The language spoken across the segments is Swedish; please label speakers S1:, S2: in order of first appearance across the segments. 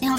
S1: har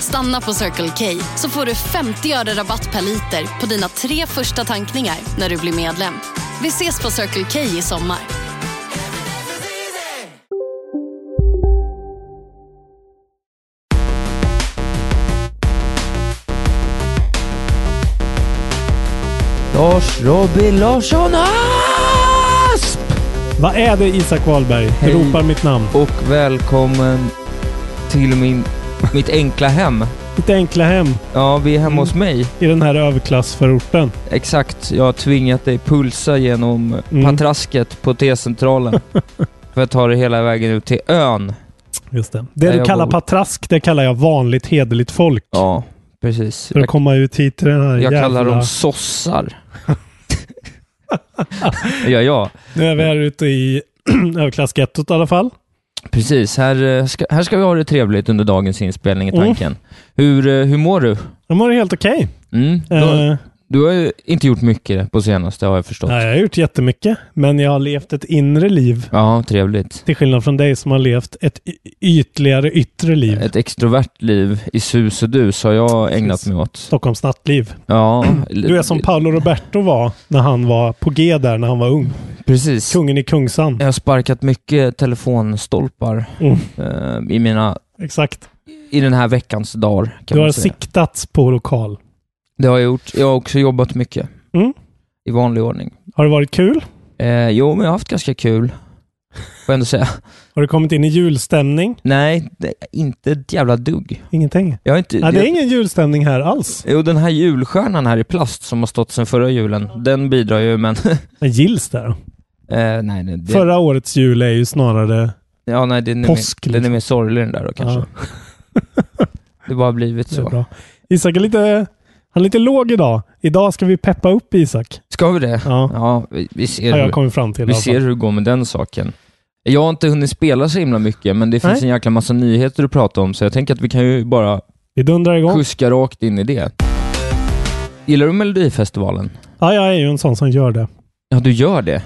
S2: Stanna på Circle K så får du 50 öre rabatt per liter på dina tre första tankningar när du blir medlem. Vi ses på Circle K i sommar.
S3: Lars Robin Larsson Asp!
S4: Vad är det Isak Wahlberg
S3: Hej.
S4: ropar mitt namn?
S3: Och välkommen till min, mitt enkla hem.
S4: Ditt enkla hem
S3: Ja, vi är hemma hos mig.
S4: i den här överklassförorten.
S3: Exakt, jag har tvingat dig pulsa genom
S4: Mm.
S3: patrasket på T-centralen. för att ta dig hela vägen ut till ön.
S4: Just det.
S3: Där
S4: Det du
S3: jag
S4: kallar
S3: bor.
S4: patrask, det kallar jag vanligt hederligt folk.
S3: Ja, precis.
S4: För att
S3: Jag,
S4: komma ut hit till den här
S3: jag
S4: jävla...
S3: kallar dem sossar. ja, ja.
S4: Nu är vi här ute i överklassgettot i alla fall.
S3: Precis. Här eh, ska, här ska vi ha det trevligt under dagens inspelning i
S4: Mm.
S3: tanken. Hur, eh, hur mår du?
S4: Jag mår helt okej.
S3: Mm. Du, har-
S4: Eh,
S3: du har ju inte gjort mycket på senaste har jag förstått.
S4: nej, jag har gjort jättemycket, men jag har levt ett inre liv.
S3: Ja, trevligt.
S4: Till skillnad från dig som har levt ett y- ytligare yttre liv.
S3: Ett extrovert liv i sus och dus har jag ägnat mig åt.
S4: Stockholms nattliv.
S3: Ja,
S4: Du är som Paolo Roberto var när han var på G där när han var ung.
S3: Precis.
S4: Kungen i Kungsan.
S3: Jag har sparkat mycket telefonstolpar
S4: Mm.
S3: eh, i, mina,
S4: Exakt.
S3: i den här veckans dagar. Kan
S4: Du
S3: man
S4: har
S3: säga.
S4: siktats på lokal.
S3: Det har jag gjort. Jag har också jobbat mycket.
S4: Mm.
S3: I vanlig ordning.
S4: Har det varit kul?
S3: Eh, jo, men jag har haft ganska kul. Får jag ändå säga.
S4: Har du kommit in i julstämning?
S3: Nej, det är inte ett jävla dugg.
S4: Ingenting.
S3: Jag har inte...
S4: Nej, det
S3: jag-
S4: är ingen julstämning här alls.
S3: Jo, den här julstjärnan här i plast som har stått sedan förra julen, den bidrar ju, men...
S4: Men gills där.
S3: eh, nej, det, det,
S4: Förra årets jul är ju snarare...
S3: ja, nej, den är,
S4: påsk,
S3: mer, den är
S4: liksom.
S3: mer sorglig den där då kanske.
S4: Ja,
S3: Det bara har blivit
S4: det är
S3: så.
S4: bra. Isak är lite... Han är lite låg idag. Idag ska vi peppa upp Isak.
S3: Ska vi det?
S4: Ja.
S3: Ja, vi, vi ser,
S4: Har jag
S3: hur,
S4: kommit fram till. i
S3: vi
S4: alla fall.
S3: ser hur det går med den saken. Jag har inte hunnit spela så himla mycket, men det finns
S4: Nej.
S3: en jäkla massa nyheter att prata om, så jag tänker att vi kan ju bara
S4: Vi dundrar igång.
S3: kuska rakt in i det. Gillar du Melodifestivalen?
S4: Ja, jag är ju en sån som gör det.
S3: Ja, du gör det?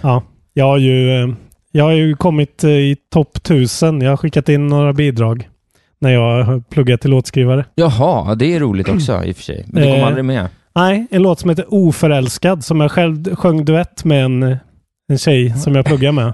S4: Jag har ju, eh, jag har ju kommit eh, i topp 1000. Jag har skickat in några bidrag när jag har pluggat till låtskrivare.
S3: Jaha, det är roligt också i och för sig. Men det kom
S4: Eh.
S3: aldrig med.
S4: Nej, en låt som heter Oförälskad som jag själv sjöng duett med en, en
S3: Mm.
S4: tjej som jag pluggar med.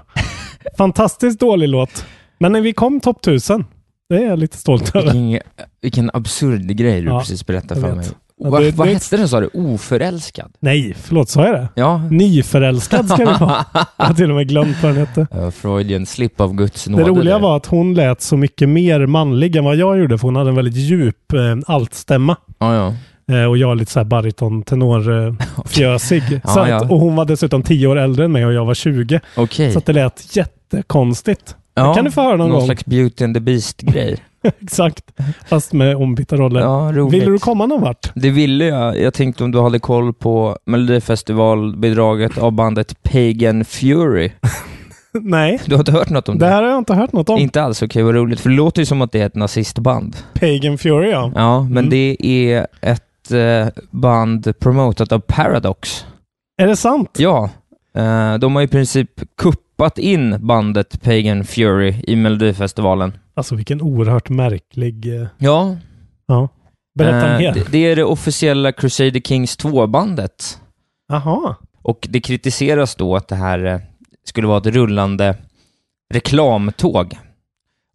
S4: Fantastiskt dålig låt. Men när vi kom topp 1000. Det är jag lite stolt över.
S3: Vilken, vilken absurd grej du
S4: Ja,
S3: precis berättade
S4: jag
S3: för
S4: vet.
S3: mig.
S4: Ja,
S3: vad
S4: det-
S3: vad
S4: det-
S3: hette den sa du? Oförälskad?
S4: Nej, förlåt, sa jag det?
S3: Ja.
S4: Nyförälskad ska det vara. Jag har till och med glömt vad den hette.
S3: Uh, Freudian slip av Guds nåde.
S4: Det roliga
S3: där.
S4: var att hon lät så mycket mer manlig än vad jag gjorde, för hon hade en väldigt djup eh, altstämma.
S3: Ja, ja.
S4: Eh, och jag är lite så här bariton, tenor, eh, fjösig.
S3: Ja,
S4: så att,
S3: ja.
S4: Och hon var dessutom 10 år äldre än mig och jag var 20.
S3: Okej.
S4: Så att det lät jättekonstigt.
S3: Ja,
S4: kan du få höra någon gång.
S3: slags Beauty and the Beast-grej.
S4: Exakt. Fast med ombytta roller.
S3: ja, roligt.
S4: Vill du komma någon vart?
S3: Det ville jag. Jag tänkte om du hade koll på Melodifestivalbidraget av bandet Pagan Fury.
S4: Nej,
S3: Du har inte hört något om
S4: det
S3: det?
S4: här har jag inte hört något om.
S3: Inte alls, okej vad roligt. För det låter ju som att det är ett nazistband.
S4: Pagan Fury, ja.
S3: Ja, men
S4: Mm.
S3: det är ett eh, band promotat av Paradox.
S4: Är det sant?
S3: Ja, eh, de har i princip kuppat in bandet Pagan Fury i Melodifestivalen.
S4: Alltså vilken oerhört märklig... eh,
S3: Ja,
S4: Ja. Berätta
S3: eh,
S4: mer.
S3: det, det är det officiella Crusader Kings 2-bandet.
S4: Jaha.
S3: Och det kritiseras då att det här eh, skulle vara ett rullande reklamtåg.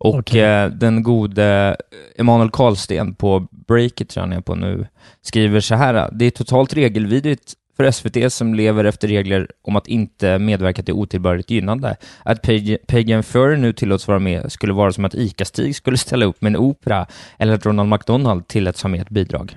S3: Och
S4: Okej.
S3: eh, den gode eh, Emanuel Karlsten på Breakit, tror jag han är på nu, skriver så här. Det är totalt regelvidrigt för SVT som lever efter regler om att inte medverka till otillbörligt gynnande. Att Page- Pagan Fur nu tillåts vara med skulle vara som att ICA-Stig skulle ställa upp med en opera eller att Ronald McDonald tilläts ha med ett bidrag.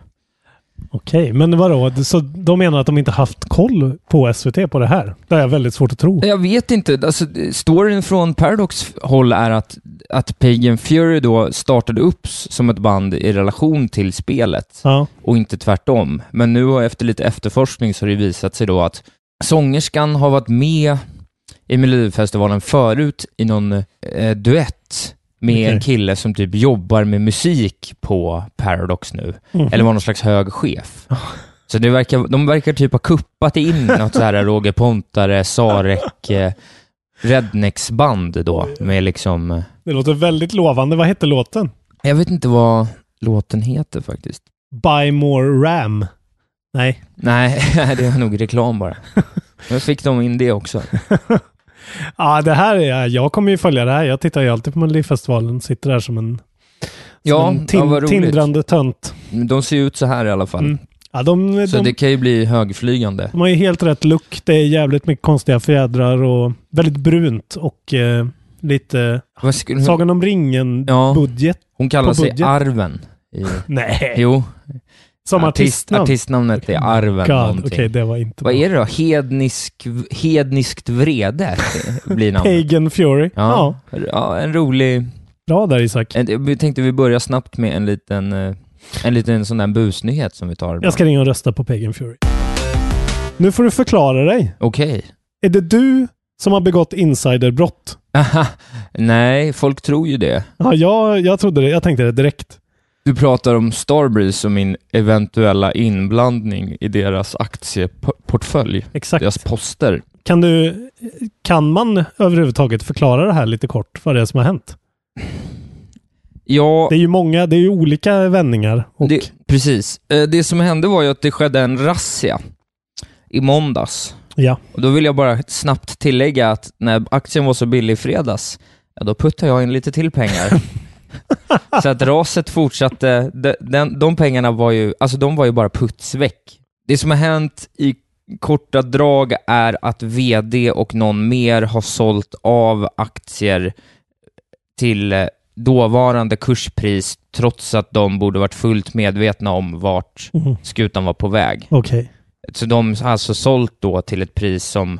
S4: Okej, men vadå? Så de menar att de inte haft koll på SVT på det här? Det är väldigt svårt att tro.
S3: Jag vet inte. Alltså, storyn från Paradox håll är att, att Pagan Fury då startade upp s- som ett band i relation till spelet
S4: Ja,
S3: och inte tvärtom. Men nu har efter lite efterforskning så har det visat sig då att sångerskan har varit med i Melodifestivalen förut i någon eh, duett med en
S4: Okej.
S3: kille som typ jobbar med musik på Paradox nu,
S4: Mhm.
S3: eller var någon slags hög chef. Så det verkar, de verkar typ ha kuppat in något så här Roger Pontare, Sarek, eh, Rednex-band då, med liksom... eh,
S4: det låter väldigt lovande. Vad hette låten?
S3: Jag vet inte vad låten heter faktiskt.
S4: Buy More Ram. Nej.
S3: Nej, det var nog reklam bara. Nu fick de in det också.
S4: Ja, det här är... Jag kommer ju följa det här. Jag tittar ju alltid på Melodifestivalen. Sitter där som en,
S3: Ja,
S4: som en
S3: ja vad roligt.
S4: tindrande tönt.
S3: De ser ut så här i alla fall.
S4: Mm. Ja, de, de,
S3: Så det kan ju bli högflygande.
S4: de har ju helt rätt look. Det är jävligt mycket konstiga fjädrar och väldigt brunt och eh, lite
S3: Vad skulle hon,
S4: Sagan om
S3: Mm. Ja.
S4: ringen-budget.
S3: hon kallar
S4: på
S3: sig
S4: budget?
S3: Arven. I,
S4: Nej,
S3: jo,
S4: som artistnamn.
S3: artistnamnet är Arven
S4: God,
S3: någonting.
S4: okej, det var inte
S3: Vad
S4: bra.
S3: är det då? Hednisk, hedniskt vrede blir namnet.
S4: Pagan Fury. Ja.
S3: Ja. ja, en rolig...
S4: bra där Isak.
S3: en- Vi tänkte vi börjar snabbt med en liten, eh, en liten sån där busnyhet som vi tar.
S4: Jag ska ringa och rösta på Pagan Fury. Nu får du förklara dig.
S3: Okej.
S4: Är det du som har begått insiderbrott?
S3: Aha. Nej, folk tror ju det.
S4: Ja, jag, jag trodde det. Jag tänkte det direkt.
S3: Du pratar om Starbreeze och min eventuella inblandning i deras aktieportfölj,
S4: Exakt.
S3: deras poster.
S4: Kan, du, kan man överhuvudtaget förklara det här lite kort, vad det är som har hänt?
S3: Ja,
S4: Det är ju många, det är ju olika vändningar. Och
S3: det, precis. Eh, Det som hände var ju att det skedde en razzia i måndags.
S4: Ja.
S3: Och då vill jag bara snabbt tillägga att när aktien var så billig i fredags, ja, då puttade jag in lite till pengar. så att raset fortsatte. De, den, de pengarna var ju, alltså de var ju bara putsväck. Det som har hänt i korta drag är att vd och någon mer har sålt av aktier till eh, dåvarande kurspris trots att de borde varit fullt medvetna om vart
S4: Mhm.
S3: skutan var på väg.
S4: Okej.
S3: Så de har alltså sålt då till ett pris som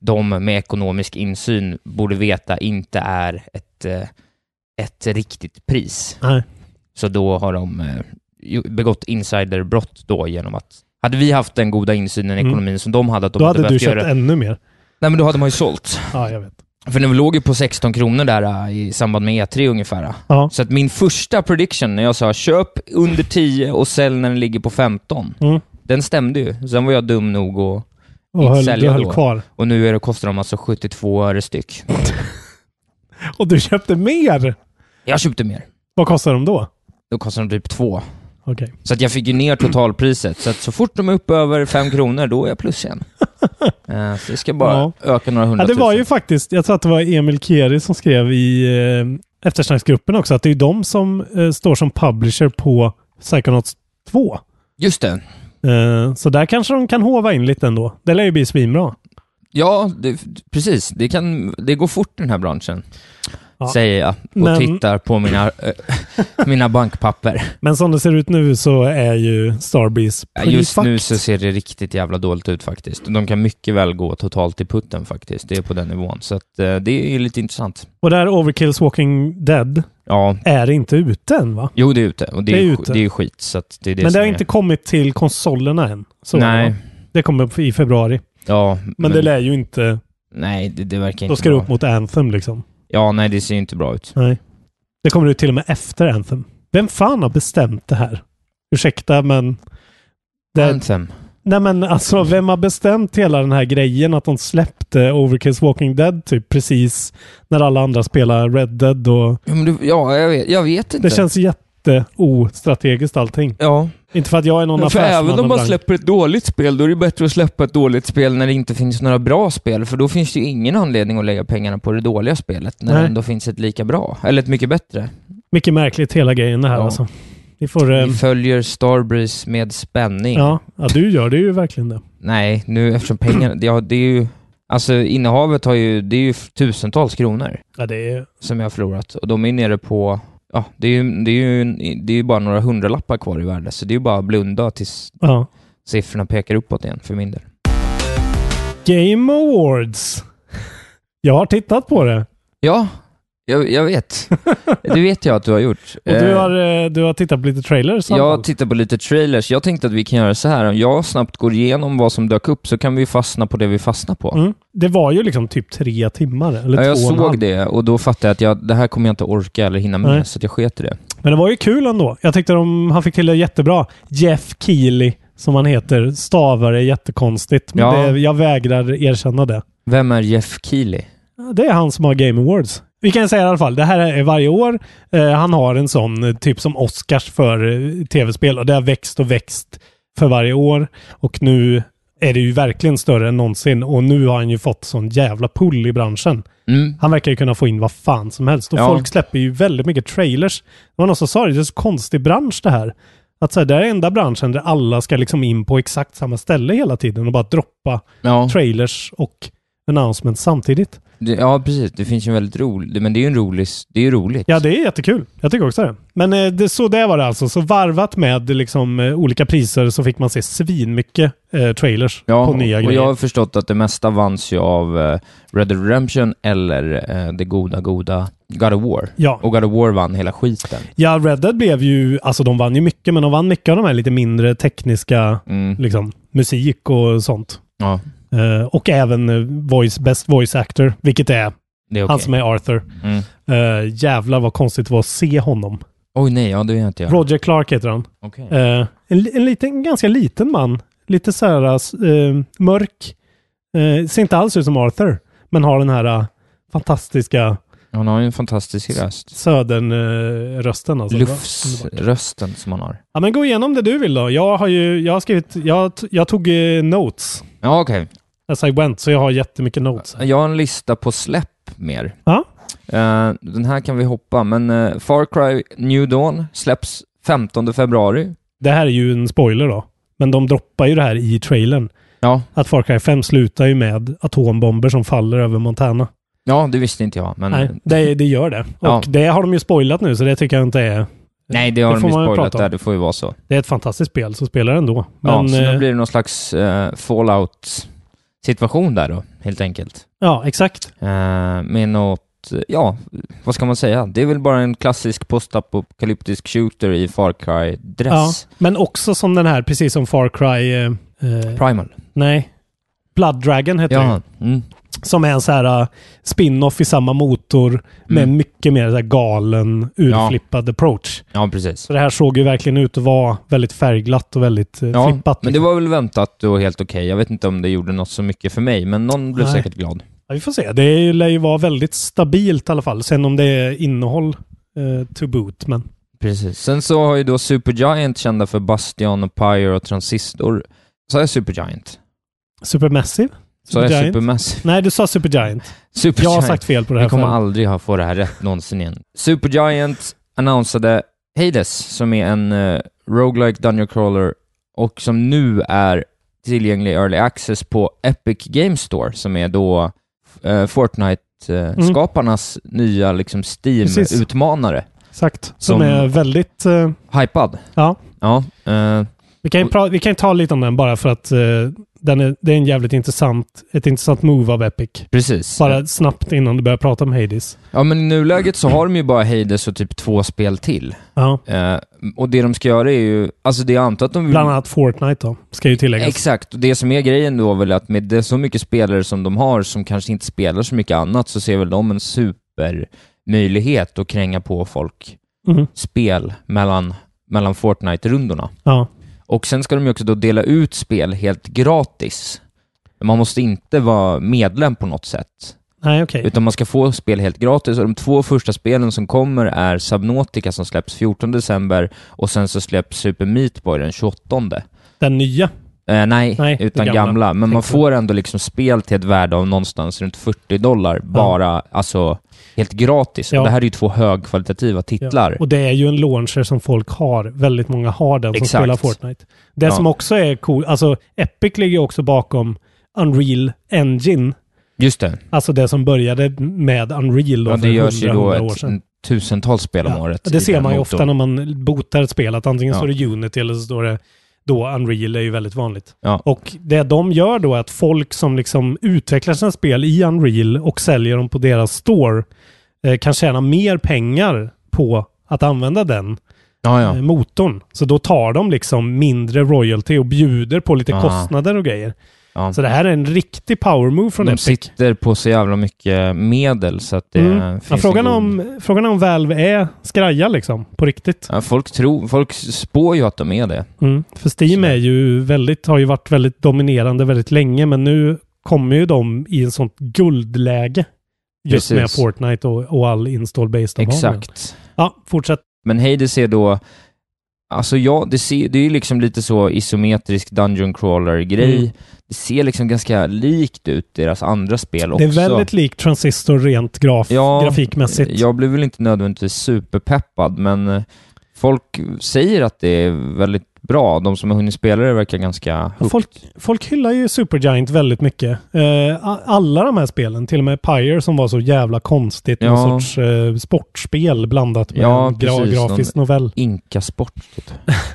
S3: de med ekonomisk insyn borde veta inte är ett, eh, ett riktigt pris.
S4: Nej.
S3: Så då har de eh, ju- begått insiderbrott då genom att hade vi haft den goda insynen i
S4: Mm.
S3: ekonomin som de hade, att de
S4: Då
S3: inte
S4: hade du
S3: behövt
S4: köpt
S3: göra...
S4: ännu mer.
S3: Nej, men då hade man ju sålt.
S4: Ja, jag vet.
S3: För den låg ju på 16 kronor där eh, i samband med E3 ungefär. eh.
S4: Ja.
S3: Så att min första prediction när jag sa köp under 10 och sälj när den ligger på 15,
S4: Mm.
S3: den stämde ju. Sen var jag dum nog att
S4: Och
S3: Inte
S4: höll, du
S3: sälja
S4: höll
S3: då.
S4: kvar.
S3: Och nu är det, kostar de alltså 72 öre styck.
S4: Och du köpte mer!
S3: Jag köpte mer.
S4: Vad kostar de då?
S3: Då kostar de typ två.
S4: Okej.
S3: Så att jag fick ju ner totalpriset. Så att så fort de är uppe över 5 kronor, då är jag plus igen. Eh, Så det ska bara
S4: Ja.
S3: öka några
S4: Ja, det
S3: hundratusen.
S4: var ju faktiskt, jag tror att det var Emil Kieri som skrev i eh, eftersnacksgruppen också, att det är ju de som eh, står som publisher på Psychonauts 2.
S3: Just det.
S4: Eh, så där kanske de kan hova in lite ändå. Det lär ju bli svinbra.
S3: Ja, det, precis. Det, kan, det går fort i den här branschen.
S4: Ja.
S3: Säger jag och
S4: Men-
S3: tittar på mina, eh, mina bankpapper.
S4: Men som det ser ut nu så är ju Starbreeze
S3: Ja,
S4: pretty
S3: Just nu
S4: fucked.
S3: så ser det riktigt jävla dåligt ut faktiskt. De kan mycket väl gå totalt i putten faktiskt. Det är på den nivån. Så att, eh, det är ju lite intressant.
S4: Och där Overkills Walking Dead
S3: Ja,
S4: är inte ute än va?
S3: Jo, det är ute. Och det,
S4: Det är
S3: är, ju-
S4: ute.
S3: det är ju skit. Så att det är det
S4: Men det
S3: som
S4: har
S3: är.
S4: inte kommit till konsolerna än. Så,
S3: Nej.
S4: va? Det kommer i februari.
S3: Ja,
S4: Men, det lär ju inte...
S3: Nej, det, det verkar
S4: Då
S3: inte
S4: ska det
S3: bra.
S4: upp mot Anthem liksom.
S3: Ja, nej, det ser ju inte bra ut.
S4: Nej. Det kommer ut till och med efter Anthem. Vem fan har bestämt det här? Ursäkta, men... Det,
S3: Anthem.
S4: Nej, men alltså vem har bestämt hela den här grejen att de släppte Overkill's Walking Dead typ precis när alla andra spelar Red Dead och...
S3: Ja, men du, ja jag, vet, jag vet inte.
S4: Det känns jätte... jätteostrategiskt allting.
S3: Ja,
S4: Inte för att jag är någon
S3: för
S4: affärsman.
S3: även om man
S4: ibland.
S3: släpper ett dåligt spel, då är det bättre att släppa ett dåligt spel när det inte finns några bra spel, för då finns det ju ingen anledning att lägga pengarna på det dåliga spelet, när
S4: Nej.
S3: det ändå finns ett lika bra, eller ett mycket bättre.
S4: Mycket märkligt hela grejen det här
S3: Ja.
S4: alltså. Vi får... ehm,
S3: Vi följer Starbreeze med spänning.
S4: ja, ja, du gör det ju verkligen det.
S3: Nej, nu eftersom pengarna, ja det är ju, alltså innehavet har ju, det är ju tusentals kronor
S4: Ja, det är...
S3: som jag har förlorat och de är nere på, ja det är ju, det är ju, det är ju bara några hundralappar kvar i värde, så det är ju bara att blunda tills
S4: Ja.
S3: siffrorna pekar uppåt igen för min del.
S4: Game Awards. Jag har tittat på det.
S3: Ja, jag, jag vet. Det vet jag att du har gjort.
S4: Och du
S3: Eh,
S4: har, eh, du har tittat på lite trailers.
S3: jag
S4: samtidigt.
S3: tittar på lite trailers. Jag tänkte att vi kan göra så här. Om jag snabbt går igenom vad som dök upp så kan vi fastna på det vi fastnar på.
S4: Mm. Det var ju liksom typ tre timmar. Eller
S3: Ja,
S4: två
S3: jag
S4: och en halv.
S3: såg det och då fattade jag att jag, det här kommer jag inte orka eller hinna med,
S4: Nej.
S3: så att jag sket i det.
S4: Men det var ju kul ändå. Jag tyckte de, han fick till det jättebra. Jeff Keely, som han heter, stavar det jättekonstigt. Men
S3: Ja.
S4: det, jag vägrar erkänna det.
S3: Vem är Jeff Keely?
S4: Det är han som har Game Awards. Vi kan säga i alla fall, det här är varje år. Eh, han har en sån, eh, typ som Oscars för eh, tv-spel. Och det har växt och växt för varje år. Och nu är det ju verkligen större än någonsin. Och nu har han ju fått sån jävla pull i branschen.
S3: Mm.
S4: Han verkar ju kunna få in vad fan som helst. Och
S3: Ja.
S4: folk släpper ju väldigt mycket trailers. Det var någon som sa det, det är så konstig bransch det här. Att så här, det här är enda branschen där alla ska liksom in på exakt samma ställe hela tiden och bara droppa
S3: Ja.
S4: trailers och announcements samtidigt.
S3: Det, ja, precis. Det finns ju en väldigt rolig, men det är ju en rolig, s- det är ju roligt.
S4: Ja, det är jättekul. Jag tycker också det. Men eh, det, så det var det alltså. Så varvat med liksom, eh, olika priser så fick man se svinmycket eh, trailers
S3: Ja,
S4: på nya
S3: och
S4: grejer.
S3: jag har förstått att det mesta vanns ju av eh, Red Dead Redemption eller eh, det goda, goda God of War.
S4: Ja.
S3: Och God of War vann hela skiten.
S4: ja, Red Dead blev ju, alltså de vann ju mycket, men de vann mycket av de här lite mindre tekniska,
S3: Mm.
S4: liksom musik och sånt.
S3: Ja,
S4: Eh, och även eh, voice, Best Voice Actor, vilket är
S3: det är okej.
S4: han som är Arthur.
S3: Mm.
S4: Uh, jävlar vad konstigt det var att se honom.
S3: Oj nej, ja det vet inte jag.
S4: Roger Clark heter han.
S3: Okej.
S4: Eh, en, li- en liten, ganska liten man. Lite så här eh, mörk. Eh, ser inte alls ut som Arthur. Men har den här eh, fantastiska
S3: Han har ju en fantastisk röst.
S4: södernrösten. Eh, rösten alltså.
S3: Lufsrösten som han har.
S4: Ja, men gå igenom det du vill då. Jag har ju, jag har skrivit, jag, t- jag tog eh, notes.
S3: Ja, okej.
S4: As I went, så jag har jättemycket notes.
S3: Jag har en lista på släpp mer.
S4: Ja.
S3: Eh, den här kan vi hoppa, men eh, Far Cry New Dawn släpps 15 februari.
S4: Det här är ju en spoiler då. Men de droppar ju det här i trailern.
S3: Ja,
S4: att Far Cry 5 slutar ju med atombomber som faller över Montana.
S3: ja det visste inte jag, men... eh,
S4: Nej, det, det gör det. Och
S3: Ja.
S4: det har de ju spoilat nu, så det tycker jag inte är...
S3: Nej, det har
S4: Det
S3: de
S4: får
S3: ju
S4: man ju
S3: spoilat
S4: prata om.
S3: där, det får ju vara så.
S4: Det är ett fantastiskt spel, så spela det ändå.
S3: ja,
S4: Men,
S3: så
S4: eh,
S3: nu blir det någon slags eh, fallout-situation där då, helt enkelt.
S4: ja exakt.
S3: Eh, med något, eh, ja, vad ska man säga? Det är väl bara en klassisk postapokalyptisk shooter i Far
S4: Ja.
S3: Cry-dress.
S4: Men också som den här, precis som Far Cry... Eh, eh,
S3: Primal.
S4: nej. Blood Dragon heter
S3: Ja, mm.
S4: det. Som är en så här eh, spin-off i samma motor med
S3: Mm.
S4: mycket mer så här galen, urflippad approach.
S3: ja precis.
S4: Så det här såg ju verkligen ut att vara väldigt färgglatt och väldigt eh,
S3: Ja,
S4: flippat.
S3: men det
S4: liksom.
S3: var väl väntat och helt okej. Jag vet inte om det gjorde något så mycket för mig, men någon blev
S4: Nej.
S3: säkert glad.
S4: Ja, vi får se. Det lär ju vara väldigt stabilt i alla fall. Sen om det är innehåll eh, to boot. Men
S3: Precis. Sen så har ju då Supergiant, kända för Bastion och Pyre och Transistor, så är Supergiant.
S4: Supermassive?
S3: Så är
S4: Supergiant?
S3: Supermassive.
S4: Nej, du sa Supergiant. Jag har
S3: Supergiant.
S4: sagt fel på det här
S3: Vi kommer
S4: förut.
S3: aldrig ha få det här rätt någonsin igen. Supergiant annonsade Hades, som är en uh, roguelike Dungeon Crawler och som nu är tillgänglig i Early Access på Epic Games Store, som är då eh, Fortnite-skaparnas nya liksom,
S4: Precis.
S3: Steam-utmanare.
S4: Exakt. Som,
S3: Som-
S4: är väldigt... Eh,
S3: Hypad.
S4: ja.
S3: Ja, eh,
S4: Vi kan, ju pra- vi kan ju ta lite om den bara för att eh, den är, det är en jävligt intressant, ett intressant move av Epic.
S3: precis.
S4: Bara snabbt innan du börjar prata om Hades.
S3: Ja, men i nuläget så har de ju bara Hades och typ två spel till.
S4: Ja.
S3: Eh, och det de ska göra är ju, alltså det jag antar att de vill...
S4: Bland annat Fortnite då, ska ju tilläggas.
S3: Exakt, och det som är grejen då väl att med det så mycket spelare som de har som kanske inte spelar så mycket annat så ser väl de en supermöjlighet att kränga på folk
S4: Mhm.
S3: spel mellan, mellan Fortnite-rundorna.
S4: Ja.
S3: Och sen ska de ju också då dela ut spel helt gratis. Man måste inte vara medlem på något sätt.
S4: Nej, okej.
S3: utan man ska få spel helt gratis. Och de två första spelen som kommer är Subnautica som släpps 14 december och sen så släpps Super Meat Boy den 28.
S4: Den nya.
S3: Eh, nej,
S4: Nej, det
S3: utan
S4: gamla.
S3: gamla. Men man
S4: Tänkte-
S3: får ändå liksom spel till ett värde av någonstans runt 40 dollar, bara alltså helt gratis.
S4: Ja.
S3: Och det här är ju två högkvalitativa titlar.
S4: Ja. Och det är ju en launcher som folk har. Väldigt många har den som
S3: Exakt.
S4: spelar Fortnite. Det
S3: Ja.
S4: som också är coolt, alltså Epic ligger ju också bakom Unreal Engine.
S3: Just det.
S4: Alltså det som började med Unreal då
S3: Ja,
S4: för
S3: det görs ju
S4: 100,
S3: då
S4: 100 år
S3: ett
S4: sedan.
S3: tusentals spel om
S4: Ja,
S3: året. i
S4: Det ser
S3: den
S4: man ju
S3: motorn.
S4: ofta när man botar ett spel, att antingen
S3: Ja.
S4: står det Unity eller så står det då Unreal är ju väldigt vanligt.
S3: Ja.
S4: Och det de gör då är att folk som liksom utvecklar sina spel i Unreal och säljer dem på deras store eh, kan tjäna mer pengar på att använda den
S3: Ja,
S4: eh,
S3: ja.
S4: motorn. Så då tar de liksom mindre royalty och bjuder på lite
S3: Ah.
S4: kostnader och grejer.
S3: ja.
S4: Så det här är en riktig power move från
S3: De
S4: Epic.
S3: sitter på så jävla mycket medel så att det
S4: Mm.
S3: finns
S4: Ja, frågan,
S3: en god...
S4: om, frågan om Valve är skraja liksom, på riktigt.
S3: Ja, folk, tror, folk spår ju att de är det.
S4: Mm. För Steam
S3: Så-
S4: är ju väldigt, har ju varit väldigt dominerande väldigt länge, men nu kommer ju de i en sånt guldläge. Just
S3: Precis.
S4: med Fortnite och, och all install base de har. nu.
S3: Exakt.
S4: Ja, fortsätt.
S3: Men Hades är då... Alltså ja, det, ser, det är ju liksom lite så isometrisk dungeon crawler-grej.
S4: Mm.
S3: Det ser liksom ganska likt ut deras andra spel också.
S4: Det är väldigt likt Transistor rent graf,
S3: Ja,
S4: grafikmässigt.
S3: Jag blev väl inte nödvändigtvis superpeppad, men eh, folk säger att det är väldigt bra. De som har hunnit spela det verkar ganska...
S4: Ja, folk, folk hyllar ju Supergiant väldigt mycket. Eh, a- alla de här spelen, till och med Pyre som var så jävla konstigt, någon
S3: Ja.
S4: sorts eh, sportspel blandat med
S3: Ja,
S4: en gra-
S3: precis.
S4: grafisk novell.
S3: Inkasport, typ.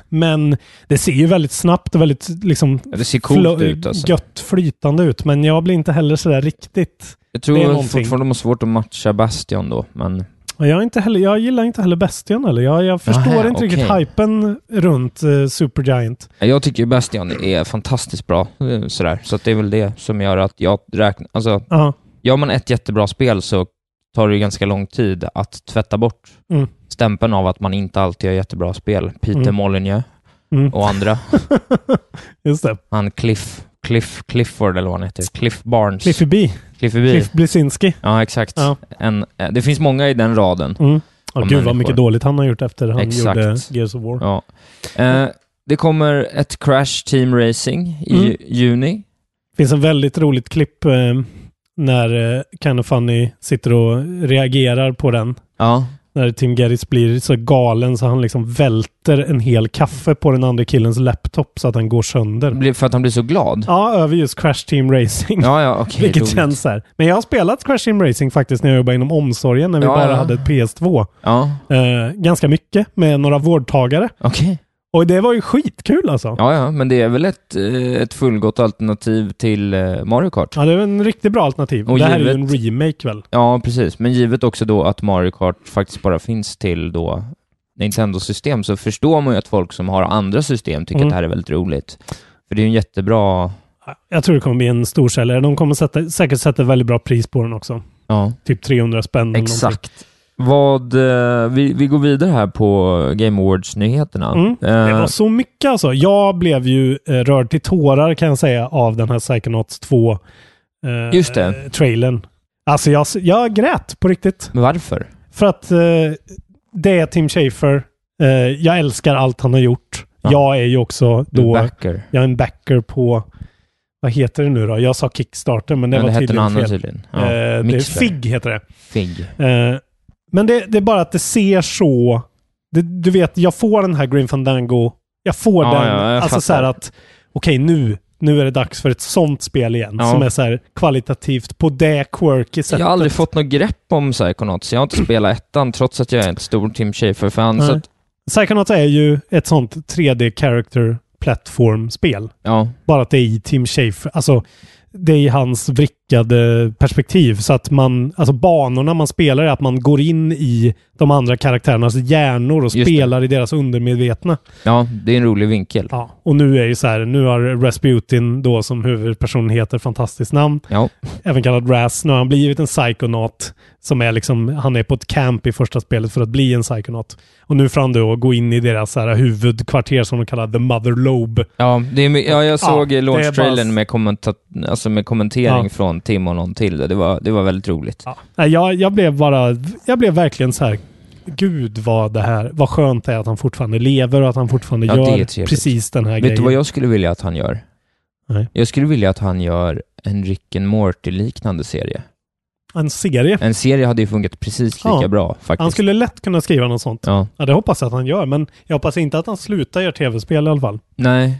S4: Men det ser ju väldigt snabbt och väldigt liksom
S3: Ja, Det ser coolt
S4: flö-
S3: ut alltså.
S4: gött flytande ut, men jag blir inte heller sådär riktigt.
S3: Jag
S4: det är
S3: tror
S4: någonting.
S3: fortfarande de har svårt att matcha Bastion då, men...
S4: Och jag, är inte heller, jag gillar inte heller Bastion eller jag, jag förstår
S3: Nähä,
S4: inte riktigt
S3: okej.
S4: hypen runt eh, Supergiant.
S3: Jag tycker ju Bastion är fantastiskt bra, eh, sådär. Så att det är väl det som gör att jag räknar... Alltså,
S4: Ja,
S3: gör man ett jättebra spel så tar det ju ganska lång tid att tvätta bort
S4: Mm.
S3: stämpeln av att man inte alltid gör jättebra spel. Peter
S4: Mm.
S3: Molyneux
S4: Mm.
S3: och andra.
S4: just det.
S3: Han Cliff, Cliff, Clifford eller vad han heter. Cliff Barnes.
S4: Cliffy B.
S3: Cliffy B.
S4: Cliff Blisinski.
S3: Ja, exakt.
S4: Ja.
S3: En, eh, det finns många i den raden.
S4: Mm. Ja,
S3: Av
S4: gud vad
S3: människor.
S4: mycket dåligt han har gjort efter han
S3: Exakt.
S4: gjorde Gears of War.
S3: Ja. Eh, det kommer ett Crash Team Racing i
S4: Mm.
S3: ju- juni.
S4: finns en väldigt roligt klipp eh, när eh, Ken och Fanny sitter och reagerar på den.
S3: Ja.
S4: När Tim Gerris blir så galen så han liksom välter en hel kaffe på den andra killens laptop så att han går sönder.
S3: Blir- För att han blir så glad.
S4: Mm. Ja, över just Crash Team Racing.
S3: Ja, ja, okej.
S4: Vilket
S3: roligt.
S4: känns så här. Men jag har spelat Crash Team Racing faktiskt när jag jobbade inom omsorgen när vi
S3: Ja,
S4: bara
S3: ja.
S4: hade ett PS2.
S3: Ja,
S4: Eh, ganska mycket med några vårdtagare.
S3: okej.
S4: Och det var ju skitkul alltså. Ja,
S3: Ja, ja, men det är väl ett, eh, ett fullgott alternativ till eh, Mario Kart?
S4: det var en riktigt bra alternativ.
S3: Och
S4: det här är ju en
S3: givet-
S4: remake väl?
S3: Ja, precis. Men givet också då att Mario Kart faktiskt bara finns till då Nintendo-system så förstår man ju att folk som har andra system tycker
S4: Mm.
S3: att det här är väldigt roligt. För det är ju en jättebra...
S4: Jag tror det kommer bli en storsäljare. De kommer sätta, säkert sätta väldigt bra pris på den också.
S3: Ja,
S4: Typ 300 spänn. eller någonting.
S3: exakt. Vad, eh, vi, vi går vidare här på Game Awards-nyheterna.
S4: Mm. Det
S3: Eh,
S4: var så mycket alltså. Jag blev ju eh, rörd till tårar kan jag säga av den här Psychonauts 2 eh,
S3: Just det.
S4: trailern. Alltså jag, jag grät på riktigt.
S3: men varför?
S4: För att eh, det är Tim Schafer. Eh, jag älskar allt han har gjort.
S3: Ja.
S4: Jag är ju också
S3: Du
S4: då,
S3: backer.
S4: jag är en backer på, vad heter det nu då? Jag sa Kickstarter men det
S3: Men
S4: var
S3: det hette något
S4: tydligen fel.
S3: annat tydligen. Ja,
S4: Eh, det är
S3: Mixler.
S4: FIG heter det.
S3: Fig.
S4: Eh, men det, det är bara att det ser så... Det, du vet, jag får den här Grim Fandango. Jag får
S3: Ja,
S4: den.
S3: ja, jag
S4: alltså
S3: fattar.
S4: så här att, okej nu, nu är det dags för ett sånt spel igen.
S3: Ja.
S4: Som är så här kvalitativt på det quirky sättet.
S3: Jag har aldrig fått något grepp om Psychonauts. Jag har inte spelat ettan trots att jag är ett stor Tim Schafer-fan. Så
S4: Nej.
S3: att,
S4: Psychonauts är ju ett sånt 3D character plattformspel.
S3: ja,
S4: Bara att det är i Tim Schafer. Alltså, det är i hans vrickade perspektiv. Så att man, alltså banorna man spelar är att man går in i de andra karaktärernas hjärnor och
S3: Just det.
S4: spelar i deras undermedvetna.
S3: Ja, det är en rolig vinkel.
S4: Ja. Och nu är ju så här, nu har Rasputin då som huvudperson heter fantastiskt namn,
S3: Ja,
S4: även kallad Ras. Nu har han blivit en psykonaut som är liksom, han är på ett camp i första spelet för att bli en psykonaut. Och nu får han då gå in i deras så här huvudkvarter som de kallar The Mother Lobe.
S3: ja, det är, my- ja jag såg
S4: det är
S3: ja,
S4: bara-
S3: launch-trailern med, kommenta- alltså med kommentering
S4: Ja.
S3: från Tim och någon till. Det var, det var väldigt roligt.
S4: Ja. Nej, Jag, jag blev bara, jag blev verkligen så här, gud vad det här, vad skönt det är att han fortfarande lever och att han fortfarande
S3: Ja, det är
S4: gör
S3: trevligt.
S4: precis den här
S3: Vet
S4: grejen.
S3: du vad jag skulle vilja att han gör?
S4: Nej.
S3: Jag skulle vilja att han gör en Rick and Morty-liknande serie.
S4: En serie.
S3: En serie hade ju funkat precis lika
S4: Ja.
S3: bra faktiskt.
S4: Han skulle lätt kunna skriva något sånt.
S3: Ja.
S4: Ja, det hoppas jag att han gör, men jag hoppas inte att han slutar göra tv-spel i alla fall.
S3: Nej.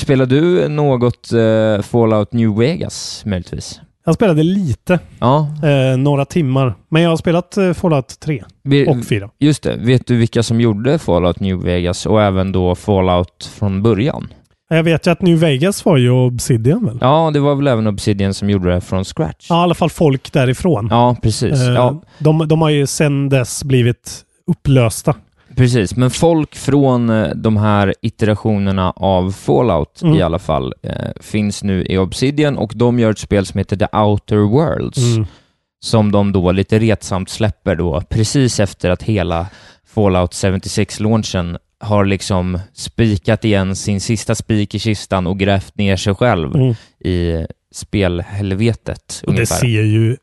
S3: Spelar du något eh, Fallout New Vegas, möjligtvis?
S4: Jag spelade lite,
S3: Ja.
S4: eh, några timmar, men jag har spelat eh, Fallout 3
S3: Vi,
S4: och 4.
S3: just det. Vet du vilka som gjorde Fallout New Vegas och även då Fallout från början?
S4: Jag vet ju att New Vegas var ju Obsidian väl? Ja,
S3: Ja, det var väl även Obsidian som gjorde det från scratch?
S4: i alla fall folk därifrån.
S3: Ja, precis.
S4: Eh,
S3: Ja,
S4: de, de har ju sedan dess blivit upplösta.
S3: precis. Men folk från eh, de här iterationerna av Fallout
S4: Mm.
S3: i alla fall eh, finns nu i Obsidian och de gör ett spel som heter The Outer Worlds.
S4: Mm.
S3: som de då lite retsamt släpper då precis efter att hela Fallout 76-launchen har liksom spikat igen sin sista spik i kistan och grävt ner sig själv
S4: Mm.
S3: i spelhelvetet
S4: Och det
S3: ungefär.
S4: ser ju...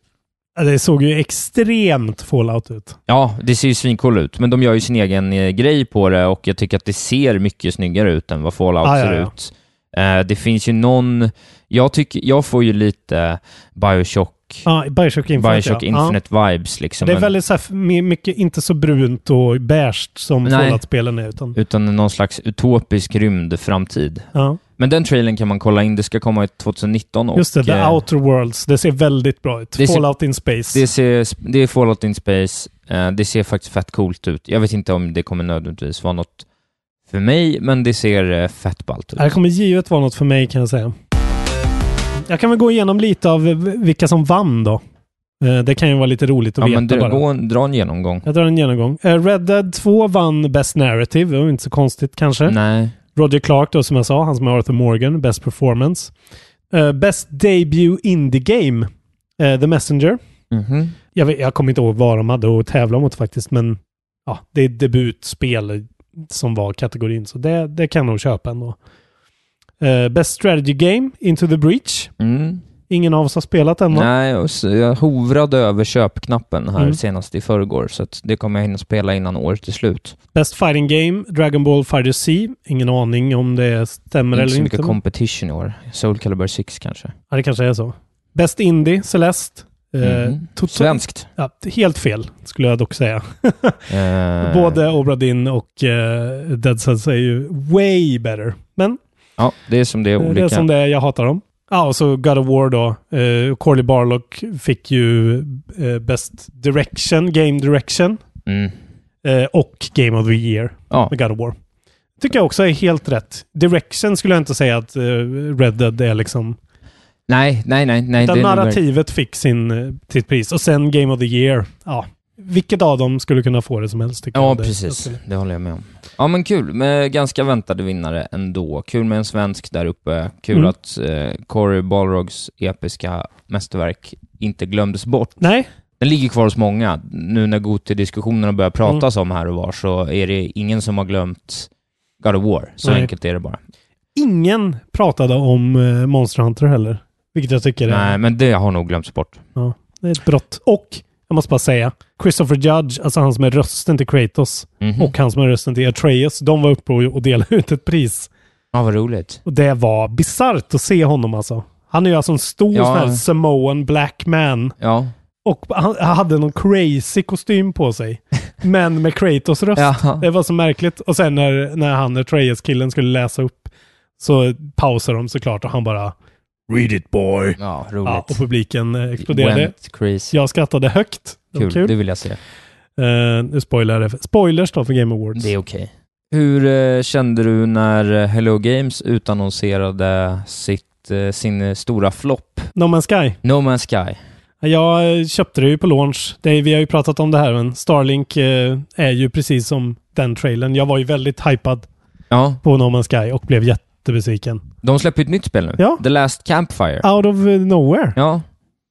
S4: ja, Det såg ju extremt Fallout ut.
S3: Ja, det ser ju svincool ut, men de gör ju sin egen eh, grej på det och jag tycker att det ser mycket snyggare ut än vad Fallout
S4: Ah, ja,
S3: ser
S4: ja.
S3: ut. Eh, det finns ju någon... Jag, tycker, jag får ju lite Bioshock,
S4: Ja, Bioshock Infinite.
S3: Bioshock
S4: ja.
S3: Infinite vibes liksom.
S4: Ja. Det är
S3: men-
S4: väldigt så här, f- my- mycket, inte så brunt och beige som
S3: Nej.
S4: Fallout-spelen är. Utan,
S3: utan någon slags utopisk rymdframtid.
S4: ja.
S3: Men den trailern kan man kolla in, det ska komma i 2019 och
S4: Just det, The
S3: eh,
S4: Outer Worlds. Det ser väldigt bra ut.
S3: det ser-
S4: Fallout in Space.
S3: det, ser, det är Fallout in Space, eh, det ser faktiskt fett coolt ut. Jag vet inte om det kommer nödvändigtvis vara något för mig, men det ser eh, fett ballt ut.
S4: Det här kommer givet vara något för mig kan jag säga. Jag kan väl gå igenom lite av v- vilka som vann då. Eh, Det kan ju vara lite roligt att
S3: Ja,
S4: veta
S3: men dra,
S4: bara.
S3: gå, en- dra en genomgång.
S4: Jag drar en genomgång. Eh, Red Dead 2 vann Best Narrative. Det var inte så konstigt kanske.
S3: Nej.
S4: Roger Clark då, som jag sa, han som är Arthur Morgan, Best Performance. Eh, best Debut Indie Game, eh, The Messenger.
S3: Mhm.
S4: Jag, vet, jag kommer inte ihåg vad de hade att tävla mot faktiskt, men ja, det är debutspel som var kategorin, så det, det kan jag nog köpa ändå. Eh, best Strategy Game, Into the Breach.
S3: Mm.
S4: Ingen av oss har spelat den va?
S3: Nej, och så, jag hovrade över köpknappen här
S4: Mm.
S3: senast i förrgår, så att det kommer jag hinna spela innan året är slut.
S4: Best Fighting Game, Dragon Ball Fighter C. Ingen aning om det stämmer
S3: inte
S4: eller
S3: så
S4: inte.
S3: mycket
S4: men-
S3: competition i år. Soul Calibur 6 kanske.
S4: ja, det kanske är så. Best Indie, Celeste. Eh,
S3: Mhm.
S4: totalt-
S3: Svenskt.
S4: Ja, helt fel skulle jag dock säga.
S3: Eh,
S4: Både Obra Dinn och eh, Dead Cells är ju way better. Men
S3: Ja, det är som det är
S4: eh,
S3: olika.
S4: det är som det är, jag hatar dem. Ja, och så God of War då. Eh, Corley Barlock fick ju eh, Best Direction, Game Direction
S3: Mm.
S4: eh, och Game of the Year
S3: Ja,
S4: med God of War. Tycker jag också är helt rätt. Direction skulle jag inte säga att eh, Red Dead är liksom...
S3: nej, nej, nej. nej
S4: Utan
S3: det är nog verkligen-
S4: narrativet fick sin, eh, sitt pris. Och sen Game of the Year. Ja. Vilket av dem skulle kunna få det som helst? tycker
S3: Ja,
S4: jag. Det- jag
S3: precis.
S4: skulle-
S3: Det håller jag med om. Ja, men kul. Med ganska väntade vinnare ändå. Kul med en svensk där uppe. Kul
S4: Mm.
S3: att eh, Corey Balrogs episka mästerverk inte glömdes bort.
S4: Nej,
S3: Den ligger kvar hos många. Nu när Goti-diskussionerna
S4: Mm.
S3: börjar pratas om här och var så är det ingen som har glömt God of War. Så
S4: Nej.
S3: enkelt är det bara.
S4: ingen pratade om eh, Monster Hunter heller. Vilket jag tycker
S3: Nej,
S4: är,
S3: men det har nog glömts bort.
S4: det är ett brott. Och, jag måste bara säga, Christopher Judge, alltså han som är rösten till Kratos
S3: Mhm.
S4: och han som är rösten till Atreus, de var uppe och, och delade ut ett pris.
S3: Ja, vad roligt.
S4: Och det var bisarrt att se honom alltså. Han är ju alltså en stor
S3: Ja.
S4: sån här Samoan black man.
S3: Ja.
S4: Och han, han hade någon crazy kostym på sig. Men med Kratos röst.
S3: Ja.
S4: Det var så märkligt. Och sen när, när han, Atreus-killen, skulle läsa upp så pausade de såklart och han bara Read it boy.
S3: Ja,
S4: Ja, och
S3: roligt.
S4: publiken eh, exploderade.
S3: Went crazy.
S4: Jag skrattade högt. Det var
S3: Kul.
S4: kul.
S3: det vill jag se.
S4: Eh, nu spoilar jag det. Spoilers då för Game Awards.
S3: Det är okej. Hur eh, kände du när eh, Hello Games utannonserade sitt, eh, sin eh, stora flopp
S4: No Man's Sky.
S3: No Man's Sky?
S4: Jag eh, köpte det ju på launch. Det, är- vi har ju pratat om det här, men Starlink eh, är ju precis som den trailern. Jag var ju väldigt hypad
S3: Ja,
S4: på No Man's Sky och blev jättebesviken.
S3: de släpper ju ett nytt spel nu.
S4: Ja.
S3: The Last Campfire.
S4: Out of nowhere.
S3: Ja,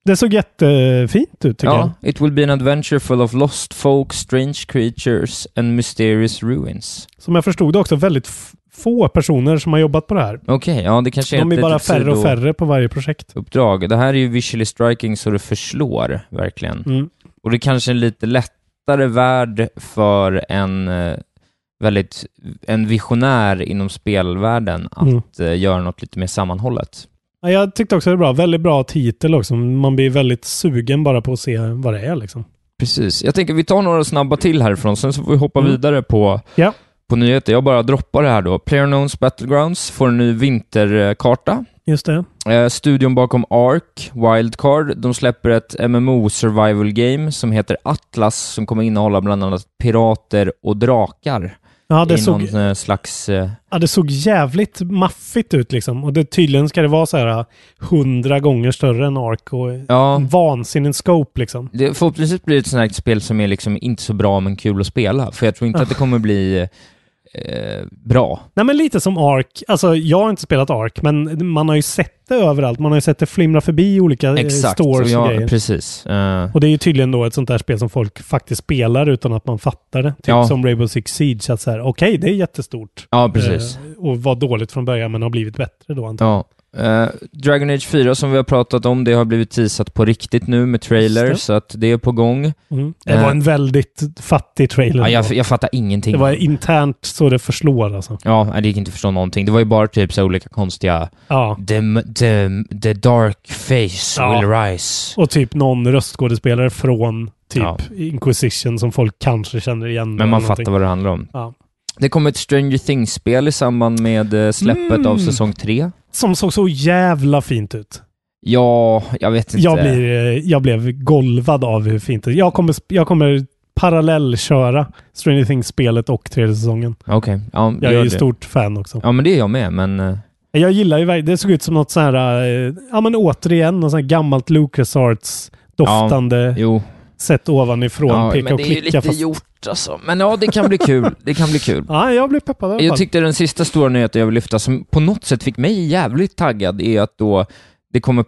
S4: Det såg jättefint ut tycker jag.
S3: ja. It will be an adventure full of lost folk, strange creatures and mysterious ruins.
S4: Som jag förstod det också väldigt f- få personer som har jobbat på det här.
S3: Okej, ja det kanske
S4: De
S3: är
S4: är
S3: ett
S4: bara
S3: litet
S4: färre och
S3: sido-
S4: färre på varje projekt.
S3: uppdrag. Det här är ju visually striking så det förslår verkligen.
S4: Mm.
S3: Och det är kanske är en lite lättare värld för en eh, väldigt, en visionär inom spelvärlden att
S4: Mm.
S3: eh, göra något lite mer sammanhållet.
S4: Ja, Jag tyckte också det var bra. Väldigt bra titel också. Man blir väldigt sugen bara på att se vad det är liksom.
S3: Precis. Jag tänker vi tar några snabba till härifrån, sen så får vi hoppa
S4: Mm.
S3: vidare på,
S4: Ja.
S3: på nyheter. Jag bara droppar det här då. PlayerUnknown's Battlegrounds får en ny vinterkarta.
S4: Just det.
S3: Eh, studion bakom Ark, Wildcard, de släpper ett MMO survival game som heter Atlas som kommer innehålla bland annat pirater och drakar
S4: Ja, det
S3: i
S4: såg
S3: någon eh, slags... Eh,
S4: Ja, det såg jävligt maffigt ut liksom. Och det, tydligen ska det vara så här äh, hundra gånger större än Ark och
S3: ja,
S4: en vansinnig scope liksom.
S3: Mm. det, förhoppningsvis blir det ett sånt här spel som är liksom inte så bra men kul att spela, för jag tror inte att det
S4: Ah.
S3: kommer bli eh, bra.
S4: Nej, men lite som Ark. Alltså, jag har inte spelat Ark, men man har ju sett det överallt. Man har ju sett det flimra förbi i olika eh,
S3: Exakt,
S4: stores
S3: och
S4: och,
S3: jag-
S4: grejer.
S3: precis. Eh,
S4: Och det är ju tydligen då ett sånt där spel som folk faktiskt spelar utan att man fattar det. Typ
S3: Ja.
S4: som Rainbow Six Siege, att så här, okej, det är jättestort.
S3: ja, precis.
S4: Eh, och var dåligt från början, men har blivit bättre då antagligen.
S3: Ja. Eh, Dragon Age 4 som vi har pratat om, det har blivit teasat på riktigt nu med trailer,
S4: Just det.
S3: så att det är på gång.
S4: Mm. Det
S3: Eh.
S4: var en väldigt fattig trailer.
S3: Ja, jag, jag fattar ingenting.
S4: det var internt så det förslår alltså.
S3: Ja, nej, det gick inte att förstå någonting. Det var ju bara typ så här olika konstiga...
S4: Ja.
S3: The, the, the dark face
S4: Ja.
S3: will rise.
S4: Och typ någon röstskådespelare från typ
S3: Ja.
S4: Inquisition som folk kanske känner igen.
S3: Men man
S4: eller någonting.
S3: fattar vad det handlar om.
S4: Ja.
S3: Det kommer ett Stranger Things-spel i samband med eh, släppet
S4: Mm.
S3: av säsong tre.
S4: Som såg så jävla fint ut.
S3: Ja, jag vet inte.
S4: Jag, blir, eh, jag blev golvad av hur fint det jag kommer, sp- jag kommer parallellköra Stranger Things-spelet och tredje säsongen.
S3: Okej, ja,
S4: Jag är
S3: gör
S4: ju
S3: det.
S4: stort fan också.
S3: Ja, men det är jag med, men... eh,
S4: Jag gillar ju, verk- det såg ut som något sån här, eh, ja men återigen, något sånt här gammalt Lucas Arts doftande
S3: Jo.
S4: sätt ovanifrån,
S3: Ja,
S4: peka
S3: men
S4: och
S3: det är ju
S4: klicka.
S3: lite
S4: Fast...
S3: gjort alltså. Men ja, det kan bli kul. Det kan bli kul.
S4: Ja, jag blev peppad i alla
S3: Jag
S4: fall.
S3: tyckte den sista stora nyheten jag vill lyfta, som på något sätt fick mig jävligt taggad, är att då det kommer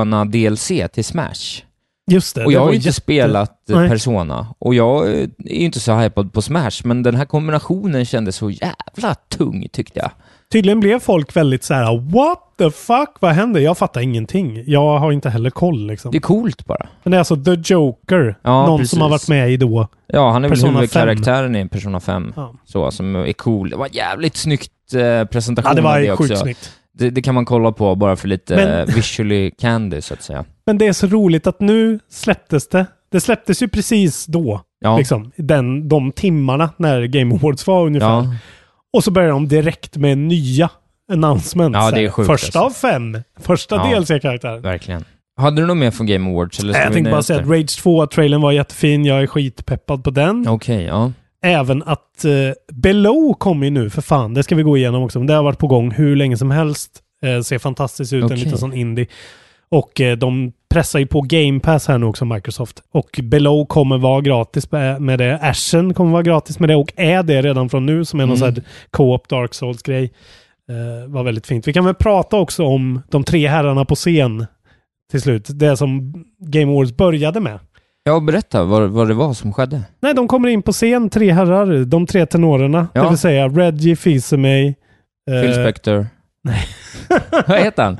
S3: Persona-DLC till Smash.
S4: Just det.
S3: Och
S4: det
S3: jag har
S4: var
S3: ju inte
S4: jätte-
S3: spelat eh,
S4: Nej.
S3: Persona, och jag eh, är ju inte så hypad på Smash, men den här kombinationen kändes så jävla tung tyckte jag.
S4: Tydligen blev folk väldigt så här: what the fuck, vad händer? Jag fattar ingenting. Jag har inte heller koll liksom.
S3: Det är coolt bara.
S4: Men det är alltså The Joker,
S3: Ja,
S4: någon
S3: precis.
S4: som har varit med i då.
S3: Ja, han är väl
S4: Persona
S3: huvudkaraktären i Persona 5,
S4: Ja.
S3: så, som är cool. Det var jävligt snyggt eh, presentation
S4: Ja, det
S3: av
S4: var sjukt
S3: också.
S4: snyggt.
S3: Det, det kan man kolla på bara för lite
S4: Men-
S3: eh, visually candy, så att säga.
S4: Men det är så roligt att nu släpptes det. Det släpptes ju precis då,
S3: Ja.
S4: liksom, den, de timmarna när Game Awards var ungefär.
S3: Ja,
S4: Och så börjar de direkt med nya announcements.
S3: Ja, det är
S4: Så här,
S3: sjukt,
S4: Första
S3: alltså.
S4: av fem. Första
S3: Ja.
S4: DLC-karaktären.
S3: verkligen. Hade du något mer från Game Awards? Eller ska
S4: Jag
S3: vi
S4: tänkte bara
S3: nöja
S4: säga
S3: oss
S4: att Rage 2-trailern var jättefin. Jag är skitpeppad på den.
S3: där? Okej, ja.
S4: Även att eh, Below kommer ju nu för fan. Det ska vi gå igenom också. Men det har varit på gång hur länge som helst. Eh, ser fantastiskt ut.
S3: Okej.
S4: En liten sån indie. Och eh, de pressar ju på Game Pass här nu också, Microsoft. Och Below kommer vara gratis med med det. Ashen kommer vara gratis med det och är det redan från nu som är någon
S3: Mm.
S4: sån här co-op Dark Souls-grej. Eh, var väldigt fint. Vi kan väl prata också om de tre herrarna på scen till slut. Det som Game Awards började med.
S3: Ja, berätta vad, vad det var som skedde.
S4: Nej, de kommer in på scen, tre herrar, de tre tenorerna.
S3: Ja.
S4: Det vill säga Reggie Fils-Aimé. eh,
S3: Phil Spector. vad heter han?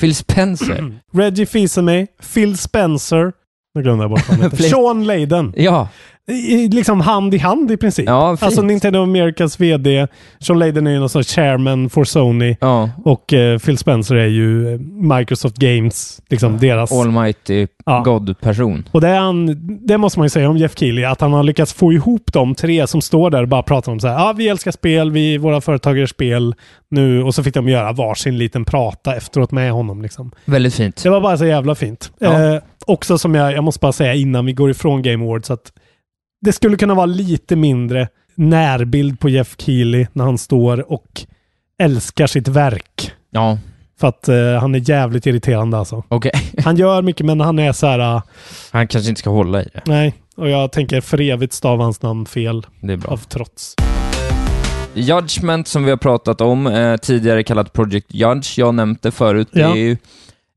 S3: Phil Spencer.
S4: Reggie Fils-Aimé, Phil Spencer. Nu glömde jag bort vad han heter.
S3: Fl-
S4: Sean Layden.
S3: Ja,
S4: I, i- liksom hand i hand i princip.
S3: Ja, fint.
S4: alltså Nintendo Americas VD. Sean Layden är ju någon sorts chairman for Sony.
S3: ja.
S4: Och eh, Phil Spencer är ju eh, Microsoft Games, liksom deras.
S3: Almighty
S4: Ja.
S3: God-person.
S4: Och det, är han, det måste man ju säga om Jeff Keely, att han har lyckats få ihop de tre som står där och bara pratar om så här, ah, vi älskar spel, vi, våra företag gör spel nu. Och så fick de göra varsin liten prata efteråt med honom. Liksom.
S3: Väldigt fint.
S4: Det var bara så jävla fint.
S3: Ja.
S4: Eh, också som jag, jag måste bara säga innan vi går ifrån Game Awards, att det skulle kunna vara lite mindre närbild på Jeff Keely när han står och älskar sitt verk.
S3: Ja,
S4: För att eh, han är jävligt irriterande alltså.
S3: Okej.
S4: Han gör mycket men han är så här, ah,
S3: Han kanske inte ska hålla i det.
S4: nej. Och jag tänker för evigt stava hans namn fel
S3: Det är bra.
S4: av trots.
S3: Judgment som vi har pratat om, eh, tidigare kallat Project Judge, jag har nämnt det förut, det
S4: Ja.
S3: är ju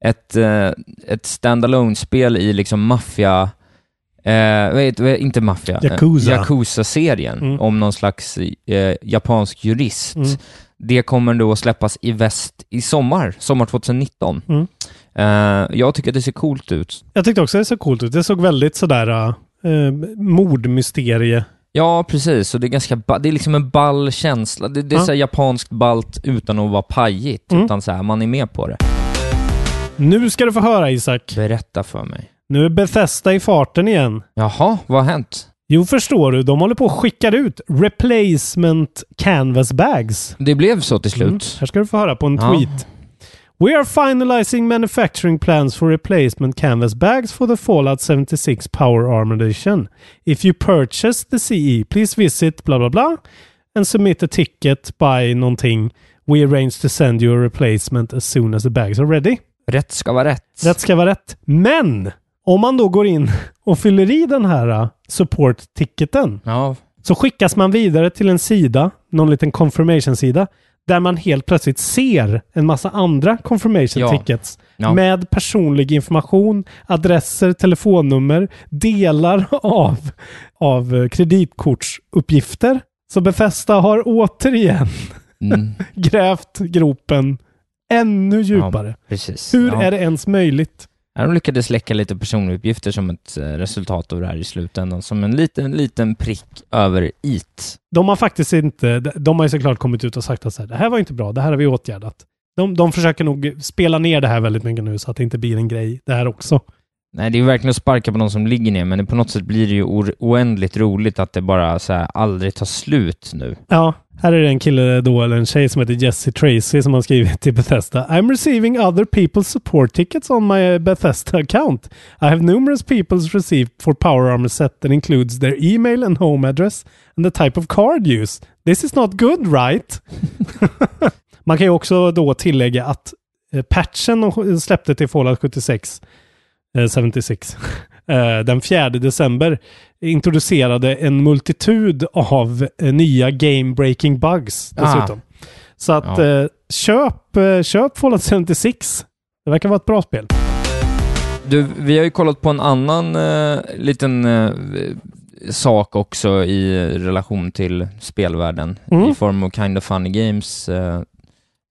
S3: ett, eh, ett standalone spel i liksom maffia... Eh, vad heter- vad- inte maffia. eh,
S4: Yakuza.
S3: Yakuza-serien
S4: Mm.
S3: om någon slags eh, japansk jurist.
S4: Mm.
S3: Det kommer då släppas i väst i sommar, sommar 2019.
S4: Mm.
S3: Eh, jag tycker att det ser coolt ut.
S4: Jag tyckte också det såg coolt ut. Det såg väldigt sådär ah, eh, mordmysterie.
S3: Ja, precis. Och det är ganska ba- det är liksom en ball känsla. Det, det är
S4: Ja.
S3: så här japanskt ballt utan att vara pajigt,
S4: Mm.
S3: utan så här, man är med på det.
S4: Nu ska du få höra Isak.
S3: Berätta för mig.
S4: Nu är Bethesda i farten igen.
S3: Jaha, vad har hänt?
S4: Jo, förstår du. De håller på att skicka ut replacement canvas bags.
S3: Det blev så till
S4: Mm.
S3: slut.
S4: Här ska du få höra på en
S3: Ja.
S4: tweet. We are finalizing manufacturing plans for replacement canvas bags for the Fallout 76 Power Armor Edition. If you purchase the CE, please visit bla bla bla and submit a ticket by någonting. We arrange to send you a replacement as soon as the bags are ready.
S3: Rätt ska vara rätt.
S4: Rätt ska vara rätt. Men om man då går in och fyller i den här uh, support-ticketen
S3: Ja,
S4: så skickas man vidare till en sida, någon liten confirmation-sida, där man helt plötsligt ser en massa andra
S3: Ja.
S4: confirmation tickets
S3: Ja.
S4: med personlig information, adresser, telefonnummer, delar av, av eh, kreditkortsuppgifter. Så Bethesda har återigen
S3: mm,
S4: grävt gropen ännu djupare.
S3: precis.
S4: Hur
S3: ja.
S4: är det ens möjligt?
S3: De lyckades läcka lite personuppgifter som ett eh, resultat av det här i slutändan, som en liten, liten prick över it.
S4: De har faktiskt inte, de har ju såklart kommit ut och sagt att så här, det här var inte bra, det här har vi åtgärdat. De, de försöker nog spela ner det här väldigt mycket nu så att det inte blir en grej det här också.
S3: Nej, det är ju verkligen att sparka på någon som ligger ner, men det, på något sätt blir det ju or- oändligt roligt att det bara så här, aldrig tar slut nu.
S4: Ja, här är det en kille då, eller en tjej som heter Jesse Tracy som har skrivit till Bethesda. I'm receiving other people's support tickets on my eh, Bethesda account. I have numerous people's received for Power Armor set that includes their email and home address and the type of card used. This is not good right? Man kan ju också då tillägga att eh, patchen de släppte till Fallout 76, eh, 76, eh, den 4 december introducerade en multitud av eh, nya game-breaking bugs dessutom. Så att
S3: Ja.
S4: eh, köp, eh, köp Fallout 76. Det verkar vara ett bra spel.
S3: Du, vi har ju kollat på en annan eh, liten eh, sak också i relation till spelvärlden
S4: Mm.
S3: i form av Kind of Funny Games. Eh,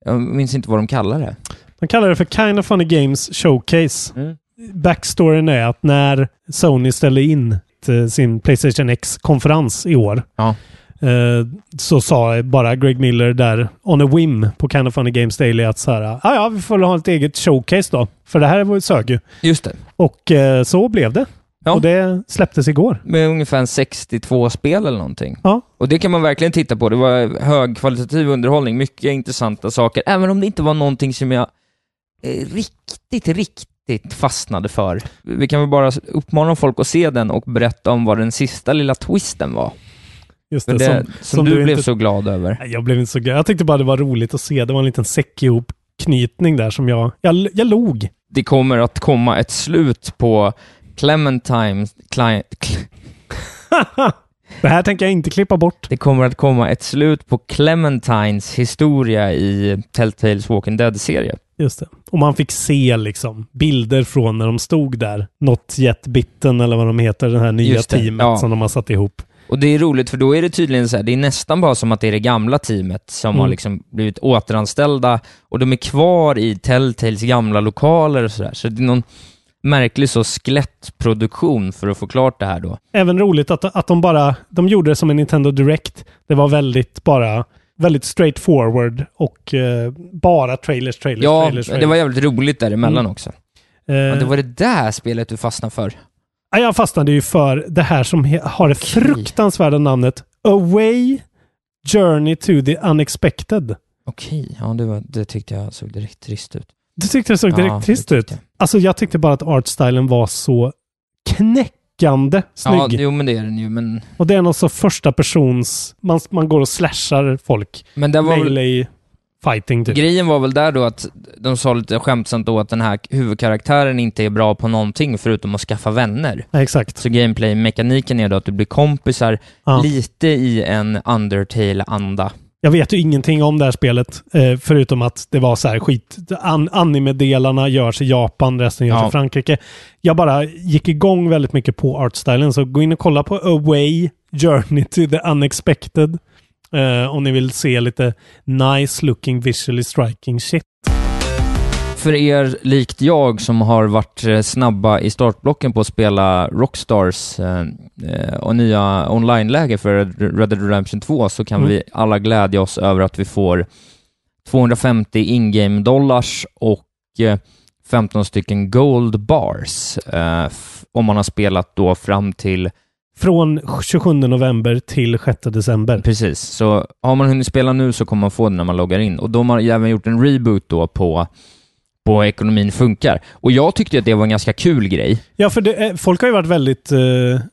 S3: jag minns inte vad de kallar det.
S4: De kallar det för Kind of Funny Games Showcase.
S3: Mm.
S4: Backstoryn är att när Sony ställde in eh, sin Playstation X-konferens i år
S3: Ja.
S4: eh, så sa bara Greg Miller där on a whim på Kind of Funny Games Daily att så här, ja ja, vi får väl ha ett eget showcase då. För det här var ju- sög ju.
S3: Just det.
S4: Och eh, så blev det.
S3: Ja.
S4: Och det släpptes igår.
S3: Med ungefär 62 spel eller någonting.
S4: Ja.
S3: Och det kan man verkligen titta på. Det var högkvalitativ underhållning, mycket intressanta saker, även om det inte var någonting som jag eh, riktigt, riktigt fastnade för. Vi kan väl bara uppmana folk att se den och berätta om vad den sista lilla twisten var.
S4: Just
S3: Men
S4: det,
S3: det,
S4: som,
S3: som, du,
S4: du
S3: blev
S4: inte-
S3: så glad över.
S4: Nej, Jag blev inte så glad. Jag tyckte bara det var roligt att se. Det var en liten säck knytning där som jag... Jag, jag log.
S3: Det kommer att komma ett slut på Clementine... Cli, cl,
S4: Det här tänker jag inte klippa bort.
S3: det kommer att komma ett slut på Clementines historia i Telltales Walking Dead-serie.
S4: Just det. Och man fick se liksom bilder från när de stod där. Not yet bitten eller vad de heter, det här nya
S3: Just det,
S4: teamet
S3: ja.
S4: som de har satt ihop.
S3: Och det är roligt för då är det tydligen så här, det är nästan bara som att det är det gamla teamet som
S4: Mm.
S3: har liksom blivit återanställda och de är kvar i Telltales gamla lokaler och sådär. Så det är någon märklig så skelettproduktion för att få klart det här då.
S4: Även roligt att, att de bara... De gjorde det som en Nintendo Direct. Det var väldigt bara... Väldigt straight forward och eh, bara trailers, trailers,
S3: Ja,
S4: trailers.
S3: det var jävligt roligt däremellan
S4: Mm.
S3: också.
S4: trailers.
S3: Ja,
S4: Eh,
S3: det var det där spelet du fastnade för.
S4: Ja, Jag fastnade ju för det här som he- har det fruktansvärda namnet Away Journey to the Unexpected.
S3: Okej, ja det, var, det tyckte jag såg direkt trist ut.
S4: Du tyckte det såg direkt
S3: Ja, det
S4: trist ut.
S3: tyckte jag.
S4: Alltså jag tyckte bara att artstylen var så
S3: Ja,
S4: knäckande snygg.
S3: jo men det är den ju, men...
S4: Och det är någon så första persons... Man, man går och slashar folk.
S3: Men det var väl
S4: Melee. fighting typ.
S3: Grejen var väl där då att de sa lite skämtsamt då att den här huvudkaraktären inte är bra på någonting förutom att skaffa vänner.
S4: Ja, Exakt.
S3: Så gameplay-mekaniken är då att du blir kompisar
S4: Ja.
S3: lite i en Undertale-anda.
S4: Jag vet ju ingenting om det här spelet, eh, förutom att det var så här skit. An anime-delarna görs i Japan, resten görs
S3: Ja.
S4: i Frankrike. Jag bara gick igång väldigt mycket på artstylen, så gå in och kolla på Away, Journey to the Unexpected. Eh, om ni vill se lite nice looking, visually striking shit.
S3: För er, likt jag, som har varit eh, snabba i startblocken på att spela Rockstars eh, eh, och nya online-läge för Red Dead Redemption 2 så kan
S4: Mm.
S3: vi alla glädja oss över att vi får 250 in-game dollars och eh, 15 stycken gold bars eh, f- om man har spelat då fram till
S4: Från 27 november till 6 december.
S3: Eh, Precis, så har man hunnit spela nu så kommer man få det när man loggar in. Och de har ju även gjort en reboot då på, på ekonomin funkar. Och jag tyckte ju att det var en ganska kul grej.
S4: Ja, för det, är- folk har ju varit väldigt... Eh,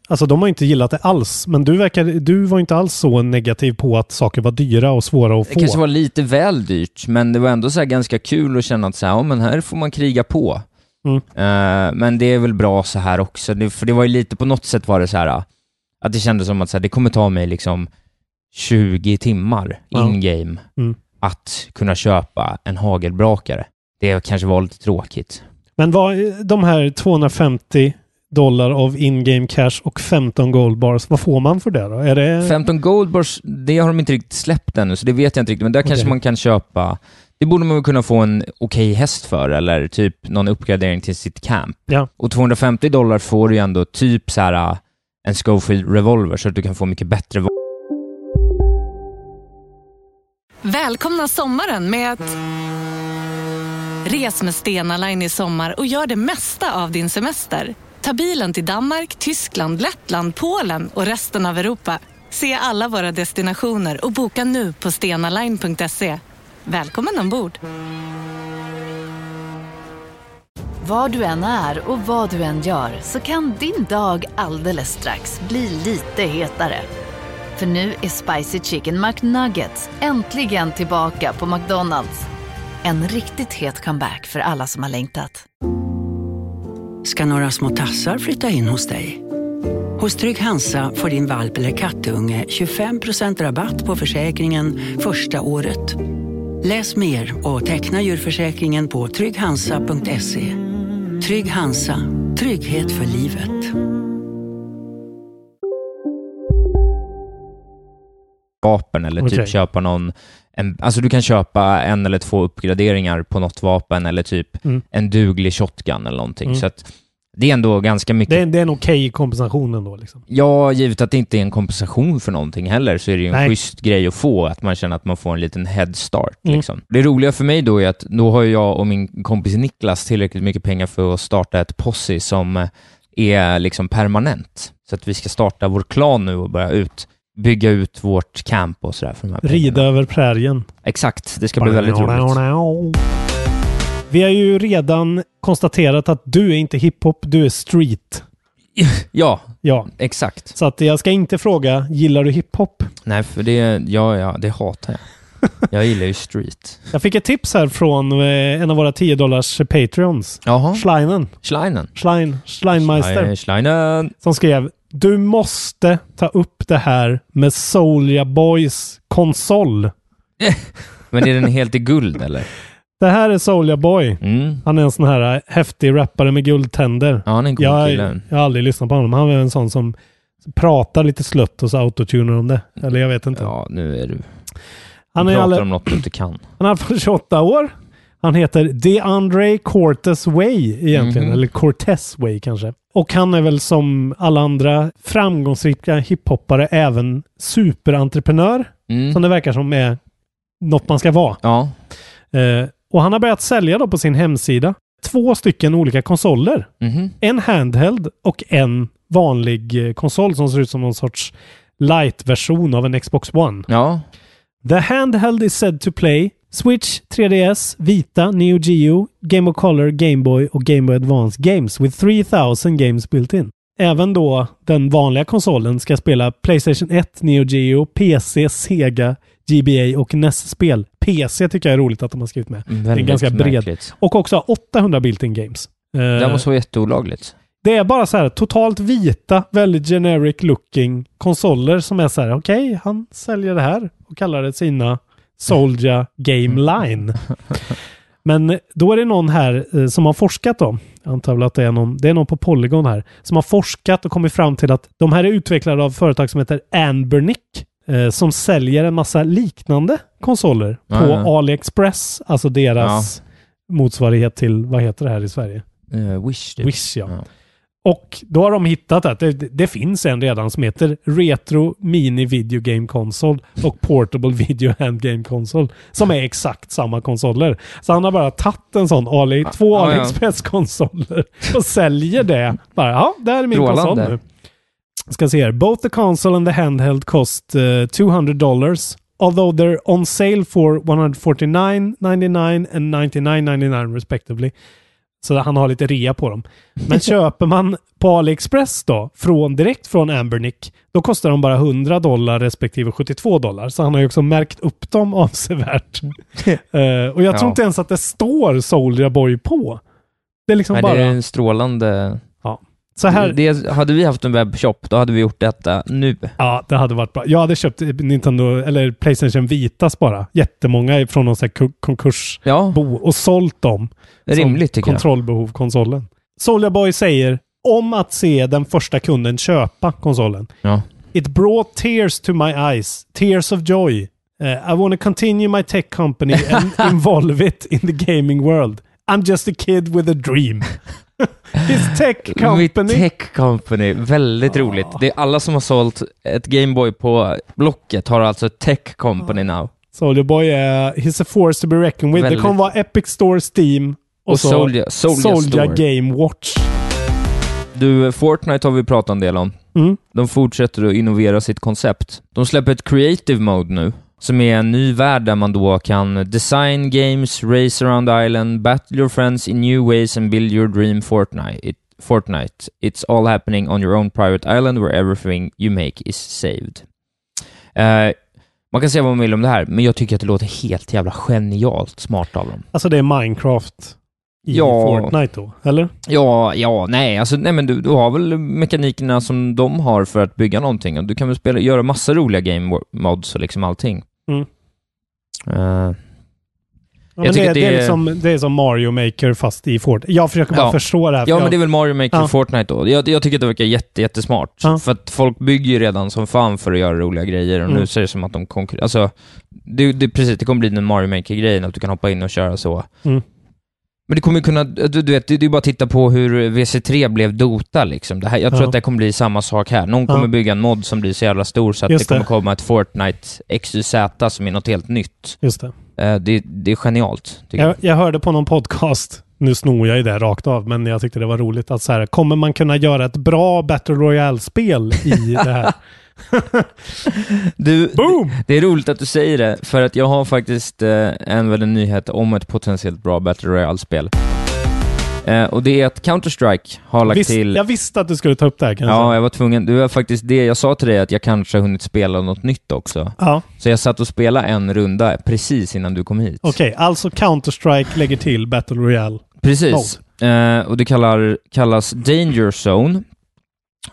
S4: alltså de har inte gillat det alls. Men du, verkar, du var inte alls så negativ på att saker var dyra och svåra att
S3: Det
S4: få.
S3: kanske var lite väl dyrt, men det var ändå så här ganska kul att känna att så här, ja, men här får man kriga på.
S4: Mm.
S3: Eh, men det är väl bra så här också, det, för det var ju lite på något sätt var det så här att det kändes som att så här, det kommer ta mig liksom 20 timmar
S4: Ja.
S3: in-game
S4: Mm.
S3: att kunna köpa en hagelbrakare. Det kanske var lite tråkigt.
S4: Men vad, de här 250 dollar av in-game cash och 15 gold bars, vad får man för det då? Är det...
S3: 15 goldbars, det har de inte riktigt släppt ännu, så det vet jag inte riktigt. Men där kanske
S4: Okej.
S3: man kan köpa... Det borde man väl kunna få en okej häst för, eller typ någon uppgradering till sitt camp.
S4: Ja.
S3: Och 250 dollar får du ju ändå typ så här äh, en Scofield revolver, så att du kan få mycket bättre va-
S2: Välkomna sommaren med att... Res med Stena Line i sommar och gör det mesta av din semester. Ta bilen till Danmark, Tyskland, Lettland, Polen och resten av Europa. Se alla våra destinationer och boka nu på stenaline.se. Välkommen ombord!
S5: Var du än är och vad du än gör så kan din dag alldeles strax bli lite hetare. För nu är Spicy Chicken McNuggets äntligen tillbaka på McDonalds. En riktigt het comeback för alla som har längtat.
S6: ska några små tassar flytta in hos dig. Hos Trygg Hansa får din valp eller kattunge 25% rabatt på försäkringen första året. Läs mer och teckna djurförsäkringen på trygghansa.se. Trygg Hansa, trygghet för livet.
S3: vapen, eller typ
S4: Okej.
S3: köpa någon... En, alltså du kan köpa en eller två uppgraderingar på något vapen, eller typ
S4: Mm.
S3: en duglig shotgun eller någonting.
S4: Mm.
S3: Så att det är ändå ganska mycket
S4: Det, är- det är en okej kompensation ändå liksom.
S3: Ja, givet att det inte är en kompensation för någonting heller så är det ju en
S4: Nej.
S3: schysst grej att få, att man känner att man får en liten head start.
S4: Mm.
S3: Liksom. Det roliga för mig då är att då har jag och min kompis Niklas tillräckligt mycket pengar för att starta ett posse som eh, är liksom permanent. Så att vi ska starta vår klan nu och börja ut, bygga ut vårt camp och sådär för de här pengarna.
S4: Rida över prärien.
S3: Exakt, det ska bli väldigt roligt.
S4: Vi har ju redan konstaterat att du är inte hiphop, du är street.
S3: Ja,
S4: Ja,
S3: exakt.
S4: så att jag ska inte fråga, gillar du hiphop?
S3: Nej, för det, ja, ja, det hatar jag. Jag gillar ju street.
S4: Jag fick ett tips här från eh, en av våra 10 dollars Patreons.
S3: Jaha,
S4: Schleinen.
S3: Schleinen.
S4: Schlein, Schleinmeister.
S3: Schleinen.
S4: som skrev Du måste ta upp det här med Soulja Boys konsol.
S3: Men är den helt i guld eller?
S4: Det här är Soulja Boy.
S3: Mm.
S4: Han är en sån här äh, häftig rappare med guldtänder.
S3: Ja, han är en cool
S4: jag,
S3: kille.
S4: jag har aldrig lyssnat på honom. Han är en sån som pratar lite slött och så autotunar om det. Eller jag vet inte.
S3: Ja, nu är du...
S4: han,
S3: du
S4: är
S3: pratar
S4: alla,
S3: om något du inte kan.
S4: han är från 28 år. Han heter DeAndre Cortes Way egentligen.
S3: Mhm.
S4: Eller Cortez Way kanske. Och han är väl som alla andra framgångsrika hiphoppare även superentreprenör.
S3: Mm.
S4: som det verkar som är något man ska vara.
S3: Ja.
S4: Eh, och han har börjat sälja då på sin hemsida två stycken olika konsoler.
S3: Mhm.
S4: En handheld och en vanlig eh, konsol som ser ut som någon sorts light-version av en Xbox One.
S3: Ja.
S4: The handheld is said to play Switch, 3DS, Vita, Neo Geo, Game of Color, Game Boy och Game Boy Advance games with 3000 games built in. Även då den vanliga konsolen ska spela Playstation 1, Neo Geo, PC, Sega, GBA och E NES-spel. PC tycker jag är roligt att de har skrivit med.
S3: Väldigt
S4: ganska bred.
S3: märkligt.
S4: Och också 800 built-in games. Eh,
S3: Det där måste vara jätteolagligt.
S4: det är bara så här totalt vita, väldigt generic looking konsoler som är så här, okej, han säljer det här och kallar det sina Soldier Game Line. Men då är det någon här eh, som har forskat om, jag antar väl att det är någon, det är någon på Polygon här, som har forskat och kommit fram till att de här är utvecklade av företag som heter Anbernic, eh, som säljer en massa liknande konsoler på
S3: Ja, ja.
S4: AliExpress, alltså deras motsvarighet till, vad heter det här i Sverige?
S3: Eh, wish, typ.
S4: Wish, ja.
S3: Ja.
S4: Och då har de hittat att det, det finns en redan som heter Retro Mini Video Game Console och Portable Video Hand Game Console som är exakt samma konsoler. Så han har bara tagit en sån, Ali, två
S3: Ja, ja.
S4: AliExpress-konsoler och säljer det. Bara, ja, där är min konsol
S3: Strålande.
S4: nu. Ska se här. Both the console and the handheld cost eh, 200 dollars. Although they're on sale for 149.99 and 99.99 respectively. Så han har lite rea på dem. Men köper man på AliExpress då, från, direkt från Ambernick, då kostar de bara 100 dollar respektive 72 dollar. Så han har ju också märkt upp dem avsevärt. Eh, och jag tror
S3: Ja.
S4: inte ens att det står Soldier Boy på. Det är liksom
S3: Nej,
S4: bara...
S3: Det är en strålande...
S4: Så här,
S3: Det, hade vi haft en webbshop, då hade vi gjort detta nu.
S4: Ja, det hade varit bra. Jag hade köpt Nintendo, eller Playstation Vitas bara. Jättemånga från någon sån här ko- konkursbo
S3: Ja,
S4: och sålt dem. som
S3: rimligt tycker jag.
S4: Kontrollbehov, konsolen. Soldier Boy säger om att se den första kunden köpa konsolen.
S3: Ja.
S4: It brought tears to my eyes, tears of joy. Eh, I want to continue my tech company and involve it in the gaming world. I'm just a kid with a dream. His tech
S3: Mitt
S4: company.
S3: tech company,
S4: Ah.
S3: väldigt roligt. Det är alla som har sålt ett Gameboy på Blocket har alltså ett tech
S4: Ah.
S3: company now.
S4: Soldier Boy är... he's a force to be reckoned with.
S3: Väldigt.
S4: Det kommer vara Epic Store, Steam och,
S3: Och
S4: så
S3: Soldier, Soldier,
S4: Soldier
S3: Store.
S4: Game Watch.
S3: Du, eh, Fortnite har vi pratat en del om.
S4: Mm.
S3: De fortsätter att innovera sitt koncept. De släpper ett creative mode nu, som är en ny värld där man då kan design games, race around island, battle your friends in new ways and build your dream Fortnite. It, Fortnite. It's all happening on your own private island where everything you make is saved. Eh, man kan säga vad man vill om det här, men jag tycker att det låter helt jävla genialt smart av dem.
S4: Alltså det är Minecraft i
S3: Ja.
S4: Fortnite då, eller?
S3: Ja, ja, nej, alltså, nej men du, du har väl mekanikerna som de har för att bygga någonting och du kan väl spela, göra massa roliga game wo- mods och liksom allting.
S4: Mm.
S3: Eh,
S4: Ja, men
S3: tycker
S4: det,
S3: att det
S4: det, är
S3: är-
S4: liksom, det är som Mario Maker fast i Fortnite. Jag försöker bara
S3: Ja.
S4: förstå det här. för
S3: ja, men
S4: jag,
S3: det är väl Mario Maker
S4: Ja.
S3: Fortnite då. Jag, jag tycker att det verkar jätte, jättesmart.
S4: Ja.
S3: För att folk bygger ju redan som fan för att göra roliga grejer och
S4: Mm.
S3: nu ser det som att de konkurrerar. Alltså, det, det, precis, det kommer bli den Mario Maker-grejen, att du kan hoppa in och köra så.
S4: Mm.
S3: Men det kommer ju kunna, du, du vet, det det är bara att titta på hur VC3 blev Dota liksom. Det här, jag tror
S4: Ja.
S3: att det kommer bli samma sak här. Någon kommer
S4: Ja.
S3: bygga en mod som blir så jävla stor så att
S4: Just
S3: det kommer
S4: det.
S3: komma ett Fortnite XYZ som är något helt nytt.
S4: Just det.
S3: Eh, det, det är genialt, tycker jag.
S4: Jag, jag hörde på någon podcast, nu snor jag ju det rakt av, men jag tyckte det var roligt att så här, kommer man kunna göra ett bra Battle Royale-spel i det här?
S3: Du,
S4: Boom!
S3: Det är roligt att du säger det, för att jag har faktiskt eh, en väldigt nyhet om ett potentiellt bra Battle Royale-spel. Eh, och det är att Counter-Strike har lagt
S4: Visst,
S3: till...
S4: jag visste att du skulle ta upp det här kanske.
S3: Ja, jag var tvungen. Det var faktiskt det jag sa till dig, att jag kanske har hunnit spela något nytt också.
S4: ja.
S3: Så jag satt och spelade en runda precis innan du kom hit.
S4: Okej, alltså Counter-Strike lägger till Battle Royale.
S3: Precis. Eh, och det kallar, kallas Danger Zone.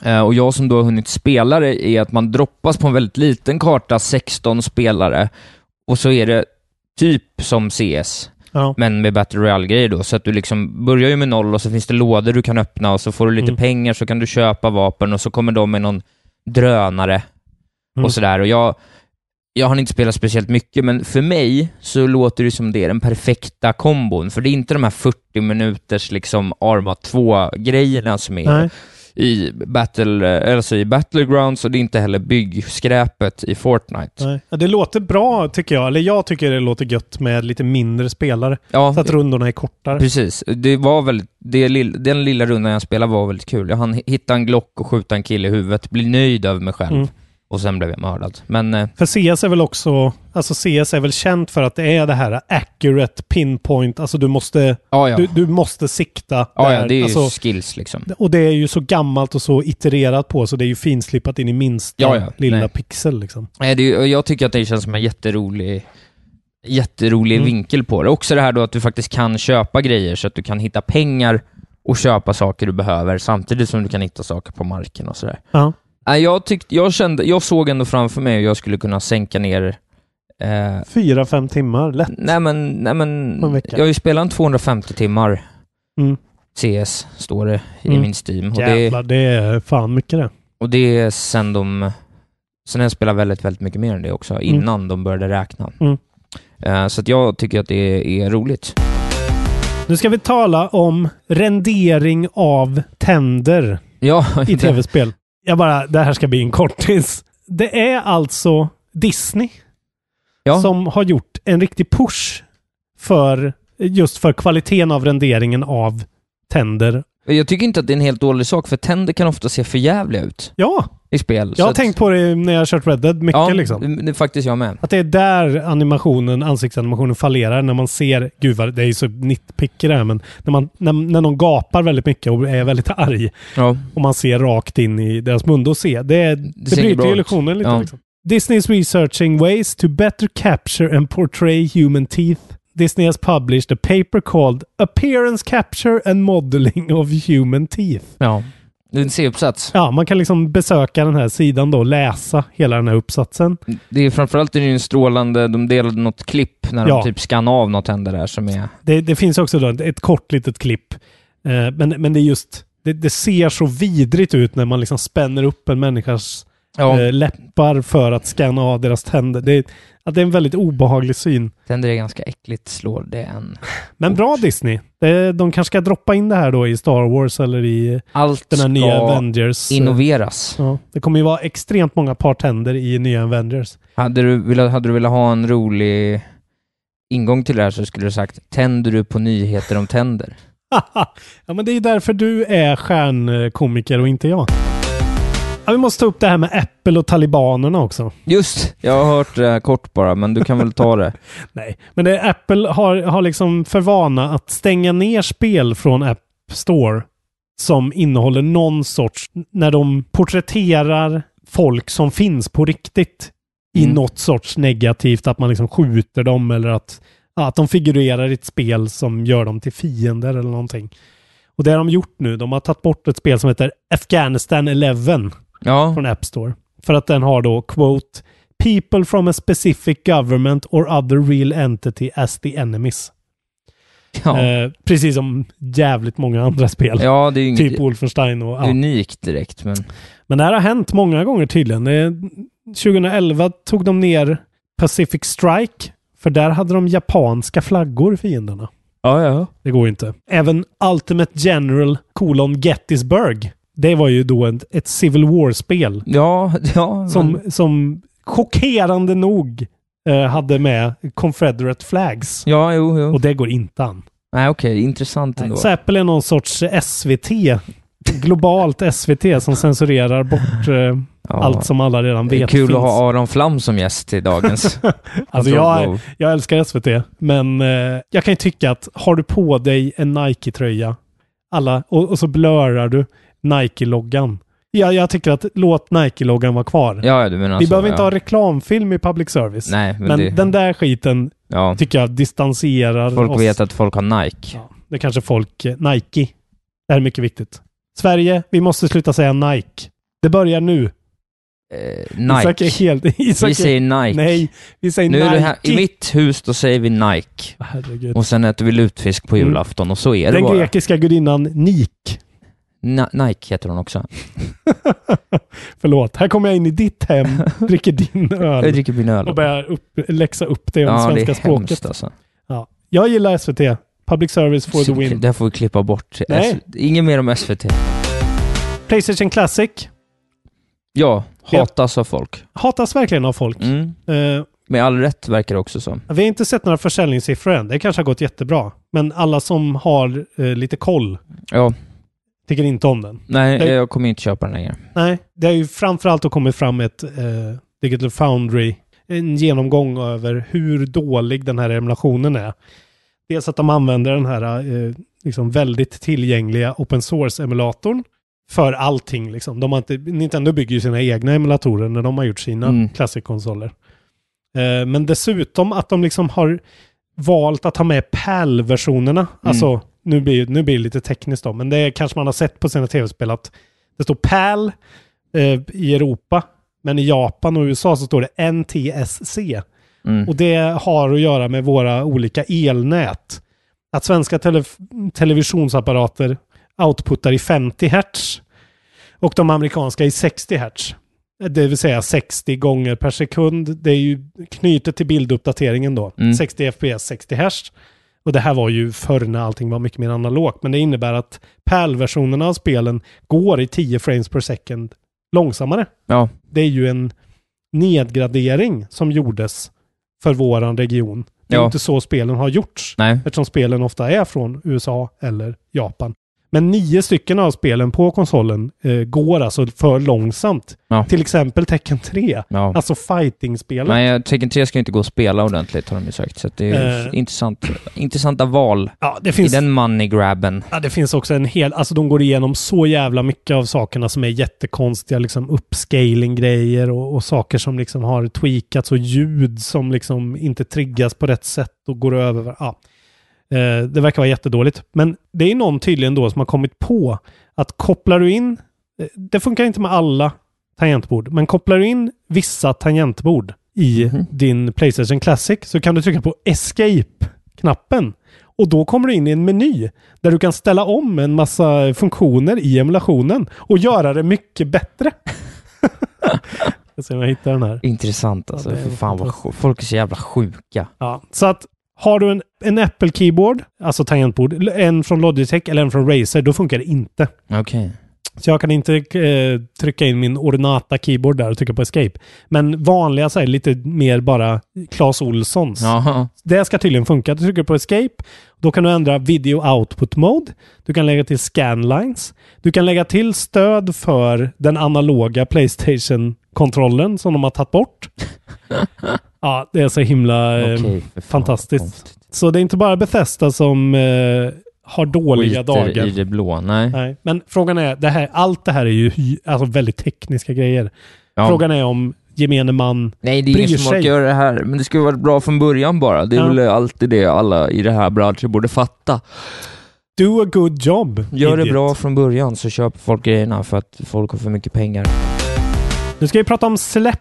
S3: Eh, och jag som då har hunnit spela det är att man droppas på en väldigt liten karta, 16 spelare, och så är det typ som CS.
S4: Ja.
S3: men med Battle Royale-grejer då. Så att du liksom börjar ju med noll och så finns det lådor du kan öppna och så får du lite
S4: Mm.
S3: pengar så kan du köpa vapen och så kommer de med någon drönare
S4: Mm.
S3: och sådär. Och jag, jag har inte spelat speciellt mycket, men för mig så låter det som det är den perfekta kombon. För det är inte de här 40 minuters liksom Arma 2-grejerna som är
S4: Nej.
S3: i, battle, eh, alltså i Battlegrounds och det är inte heller byggskräpet i Fortnite.
S4: Nej. Ja, det låter bra tycker jag. Eller jag tycker det låter gött med lite mindre spelare.
S3: Ja,
S4: Så att rundorna är kortare.
S3: Precis. Det var väldigt, det, lill- den lilla rundan jag spelade var väldigt kul. Jag hann hitta en Glock och skjuta en kille i huvudet, bli nöjd över mig själv.
S4: Mm.
S3: Och sen blev jag mördad. Men eh,
S4: För CS är väl också, alltså CS är väl känt för att det är det här accurate pinpoint, alltså du måste,
S3: ja, ja.
S4: du, du måste sikta.
S3: ja, ja,
S4: där.
S3: det är ju
S4: alltså,
S3: skills liksom.
S4: och det är ju så gammalt och så itererat på, så det är ju finslipat in i minsta
S3: Ja, ja.
S4: lilla
S3: Nej.
S4: pixel liksom.
S3: Nej, det är, ju- och jag tycker att det känns som en jätterolig, jätterolig
S4: Mm.
S3: vinkel på det. Också det här då att du faktiskt kan köpa grejer så att du kan hitta pengar och köpa saker du behöver samtidigt som du kan hitta saker på marken och sådär.
S4: Ja.
S3: Nej, jag, tyckte, jag, kände, jag såg ändå framför mig hur jag skulle kunna sänka ner eh,
S4: Fyra, fem timmar, lätt.
S3: Nej men, nej, men
S4: På en vecka.
S3: jag har ju spelat en 250 timmar
S4: Mm.
S3: CS, står det i
S4: Mm.
S3: min Steam. Och det,
S4: Jävlar, det är fan mycket det.
S3: och det är sen de... Sen har jag spelat väldigt, väldigt mycket mer än det också, innan de började räkna.
S4: Mm.
S3: Eh, så att jag tycker att det är roligt.
S4: Nu ska vi tala om rendering av tänder.
S3: Ja,
S4: i tv-spel. Jag bara, det här ska bli en kortis. Det är alltså Disney
S3: ja.
S4: som har gjort en riktig push för just för kvaliteten av renderingen av tänder.
S3: Jag tycker inte att det är en helt dålig sak, för tänder kan ofta se för jävliga ut
S4: Ja,
S3: i spel.
S4: jag har tänkt på det när jag har kört Red Dead mycket
S3: ja,
S4: liksom.
S3: det- Det är faktiskt jag med.
S4: Att det är där animationen, ansiktsanimationen fallerar när man ser, gud vad, det är ju så nitpicky det här, men när, man, när, när någon gapar väldigt mycket och är väldigt arg
S3: Ja.
S4: och man ser rakt in i deras mun. Då ser det, det,
S3: ser inget
S4: bryter
S3: bra
S4: ju
S3: ut.
S4: illusionen lite.
S3: Ja.
S4: Liksom. Disney's researching ways to better capture and portray human teeth. Disney has published a paper called Appearance Capture and Modeling of Human Teeth.
S3: ja. Det är en C-uppsats.
S4: Ja, man kan liksom besöka den här sidan då och läsa hela den här uppsatsen.
S3: Det är framförallt det är ju en strålande, de delade något klipp när de
S4: Ja.
S3: typ skannade av något händer där som är...
S4: Det, det finns också då ett, ett kort litet klipp. Eh, men, men det är just, det, det ser så vidrigt ut när man liksom spänner upp en människas
S3: Ja,
S4: eh, läppar för att scanna av deras tänder. Det är, att det är en väldigt obehaglig syn.
S3: tänder är ganska äckligt, slår det en.
S4: Men bra Disney. Det- De kanske ska droppa in det här då i Star Wars eller i
S3: Allt
S4: den här
S3: ska
S4: nya Avengers.
S3: innoveras.
S4: Ja, det kommer ju vara extremt många par tänder i nya Avengers.
S3: Hade du, velat, hade du velat ha en rolig ingång till det här så skulle du sagt tänder du på nyheter om tänder?
S4: ja, men det är ju därför du är stjärnkomiker och inte jag. Ja, vi måste ta upp det här med Apple och talibanerna också.
S3: Just jag har hört det här kort bara, men du kan väl ta det.
S4: Nej, men det, Apple har, har liksom för vana att stänga ner spel från App Store som innehåller någon sorts, när de porträtterar folk som finns på riktigt i
S3: Mm.
S4: något sorts negativt, att man liksom skjuter dem eller att, ja, att de figurerar i ett spel som gör dem till fiender eller någonting. Och det har de gjort nu. De har tagit bort ett spel som heter Afghanistan 11
S3: Ja,
S4: från App Store. För att den har då quote “People from a specific government or other real entity as the enemies”.
S3: ja.
S4: Eh, precis som jävligt många andra spel.
S3: ja det är ju inget
S4: Typ Wolfenstein och ja.
S3: unikt direkt, men
S4: Men det här har hänt många gånger tydligen. Det, 2011 tog de ner Pacific Strike. För där hade de japanska flaggor, fienderna.
S3: ja, ja.
S4: Det går ju inte. Även Ultimate General kolon Gettysburg. Det var ju då ett, ett Civil War-spel.
S3: Ja, ja.
S4: som,
S3: men,
S4: som chockerande nog eh, hade med Confederate flags.
S3: ja, jo, jo.
S4: Och det går inte an.
S3: Nej, okej, intressant ändå.
S4: Så Apple är någon sorts SVT, globalt SVT som censurerar bort eh,
S3: Ja.
S4: allt som alla redan
S3: Det är
S4: vet
S3: kul
S4: finns.
S3: att ha Aron Flam som gäst i dagens.
S4: Alltså jag, jag älskar SVT, men eh, jag kan ju tycka att har du på dig en Nike-tröja alla, och, och så blörar du Nike-loggan. Ja, jag tycker att låt Nike-loggan vara kvar.
S3: Ja, ja, du menar
S4: Vi
S3: så,
S4: behöver
S3: ja.
S4: inte ha reklamfilm i public service.
S3: Nej, men,
S4: Men
S3: det,
S4: den där skiten
S3: ja.
S4: tycker jag distanserar
S3: Folk
S4: oss.
S3: vet att folk har Nike.
S4: Ja, det kanske folk... eh, Nike. Det här är mycket viktigt. Sverige, vi måste sluta säga Nike. Det börjar nu.
S3: Eh,
S4: Isak är
S3: Nike.
S4: helt... Isak
S3: Vi säger
S4: är,
S3: Nike.
S4: Nej, vi säger
S3: nu
S4: Nike.
S3: är det här, I mitt hus då säger vi Nike.
S4: Herregud.
S3: Och sen äter vi lutfisk på
S4: Mm.
S3: julafton och så är det
S4: Den
S3: bara.
S4: grekiska gudinnan Nik.
S3: Na- Nike heter hon också.
S4: Förlåt, här kommer jag in i ditt hem, dricker din
S3: Jag
S4: öl
S3: dricker min öl.
S4: och börjar upp, läxa upp det om
S3: ja, det
S4: svenska
S3: är hemskt
S4: språket.
S3: alltså.
S4: Ja. Jag gillar SVT. Public service for the
S3: Så-
S4: win.
S3: Det här får vi klippa bort.
S4: Nej.
S3: S- Inget mer om SVT.
S4: Playstation Classic
S3: Ja,
S4: Ja.
S3: hatas av folk.
S4: hatas verkligen av folk.
S3: Mm.
S4: Eh,
S3: Med all rätt verkar det också som.
S4: Vi har inte sett några försäljningssiffror än. Det kanske har gått jättebra. Men alla som har eh, lite koll
S3: Ja,
S4: Tycker inte om den.
S3: Nej,
S4: Nej.
S3: jag kommer inte köpa den längre.
S4: Nej, det har ju framförallt har kommit fram ett eh, Digital Foundry, en genomgång över hur dålig den här emulationen är. Dels att de använder den här eh, liksom väldigt tillgängliga open source-emulatorn för allting. Liksom. De har inte, Nintendo bygger ju sina egna emulatorer när de har gjort sina
S3: Mm.
S4: klassikkonsoler. Eh, men dessutom att de liksom har valt att ha med PAL-versionerna. Alltså, nu blir, nu blir det lite tekniskt då, men det är, kanske man har sett på sina tv-spel att det står PAL eh, i Europa, men i Japan och USA så står det NTSC.
S3: Mm.
S4: Och det har att göra med våra olika elnät. Att svenska tele- televisionsapparater outputtar i 50 hertz och de amerikanska i 60 hertz. Det vill säga 60 gånger per sekund. Det är ju knutet till bilduppdateringen då.
S3: Mm.
S4: 60 fps, 60 hertz. Och det här var ju förr när allting var mycket mer analogt. Men det innebär att PAL-versionerna av spelen går i 10 frames per second långsammare
S3: Ja.
S4: det är ju en nedgradering som gjordes för våran region. Det är
S3: Ja.
S4: inte så spelen har gjorts,
S3: Nej.
S4: eftersom spelen ofta är från USA eller Japan. Men nio stycken av spelen på konsolen eh, går alltså för långsamt.
S3: Ja.
S4: Till exempel Tekken 3,
S3: Ja.
S4: alltså fighting-spelen.
S3: Nej, jag- Tekken 3 ska ju inte gå att spela ordentligt har de ju sagt, så att det är ju
S4: Eh.
S3: intressant, intressanta val
S4: Ja, det finns,
S3: i den money grabben.
S4: ja, det finns också en hel... Alltså de går igenom så jävla mycket av sakerna som är jättekonstiga, liksom upscaling-grejer och, och saker som liksom har tweakats och ljud som liksom inte triggas på rätt sätt och går över. Ja. Eh, det verkar vara jättedåligt. Men det är någon tydligen då som har kommit på att kopplar du in, eh, det funkar inte med alla tangentbord, men kopplar du in vissa tangentbord i din Playstation Classic så kan du trycka på Escape-knappen. Och då kommer du in i en meny där du kan ställa om en massa funktioner i emulationen och göra det mycket bättre. Jag ser om jag hittar den här.
S3: Intressant alltså,
S4: Ja, det är
S3: för fan vad
S4: fantastiskt.
S3: sjuk- folk är så jävla sjuka.
S4: Ja, så att har du en, en Apple Keyboard, alltså tangentbord, l- en från Logitech eller en från Razer, då funkar det inte.
S3: Okej.
S4: Så jag kan inte eh, trycka in min Ornata Keyboard där och trycka på Escape. Men vanliga så här, lite mer bara Clas Olssons.
S3: Jaha.
S4: Det ska tydligen funka. Du trycker på Escape. Då kan du ändra Video Output Mode. Du kan lägga till Scanlines. Du kan lägga till stöd för den analoga Playstation-kontrollen som de har tagit bort. ja, det är så himla... eh,
S3: Okej, för fan,
S4: fantastiskt.
S3: konstigt.
S4: Så det är inte bara Bethesda som eh, har dåliga
S3: Skiter
S4: dagar. Eh,
S3: i det blå, nej.
S4: Nej, men frågan är, det här, allt det här är ju hy- alltså väldigt tekniska grejer.
S3: Ja.
S4: Frågan är om gemene man...
S3: Nej, det är
S4: bryr
S3: ingen som
S4: sig.
S3: orkar göra det här, men det skulle varit bra från början bara. Det är
S4: Ja.
S3: väl alltid det alla i det här branschen borde fatta.
S4: Do a good job,
S3: Gör det
S4: idiot.
S3: bra från början så köper folk grejerna för att folk har för mycket pengar.
S4: Nu ska vi prata om släpp.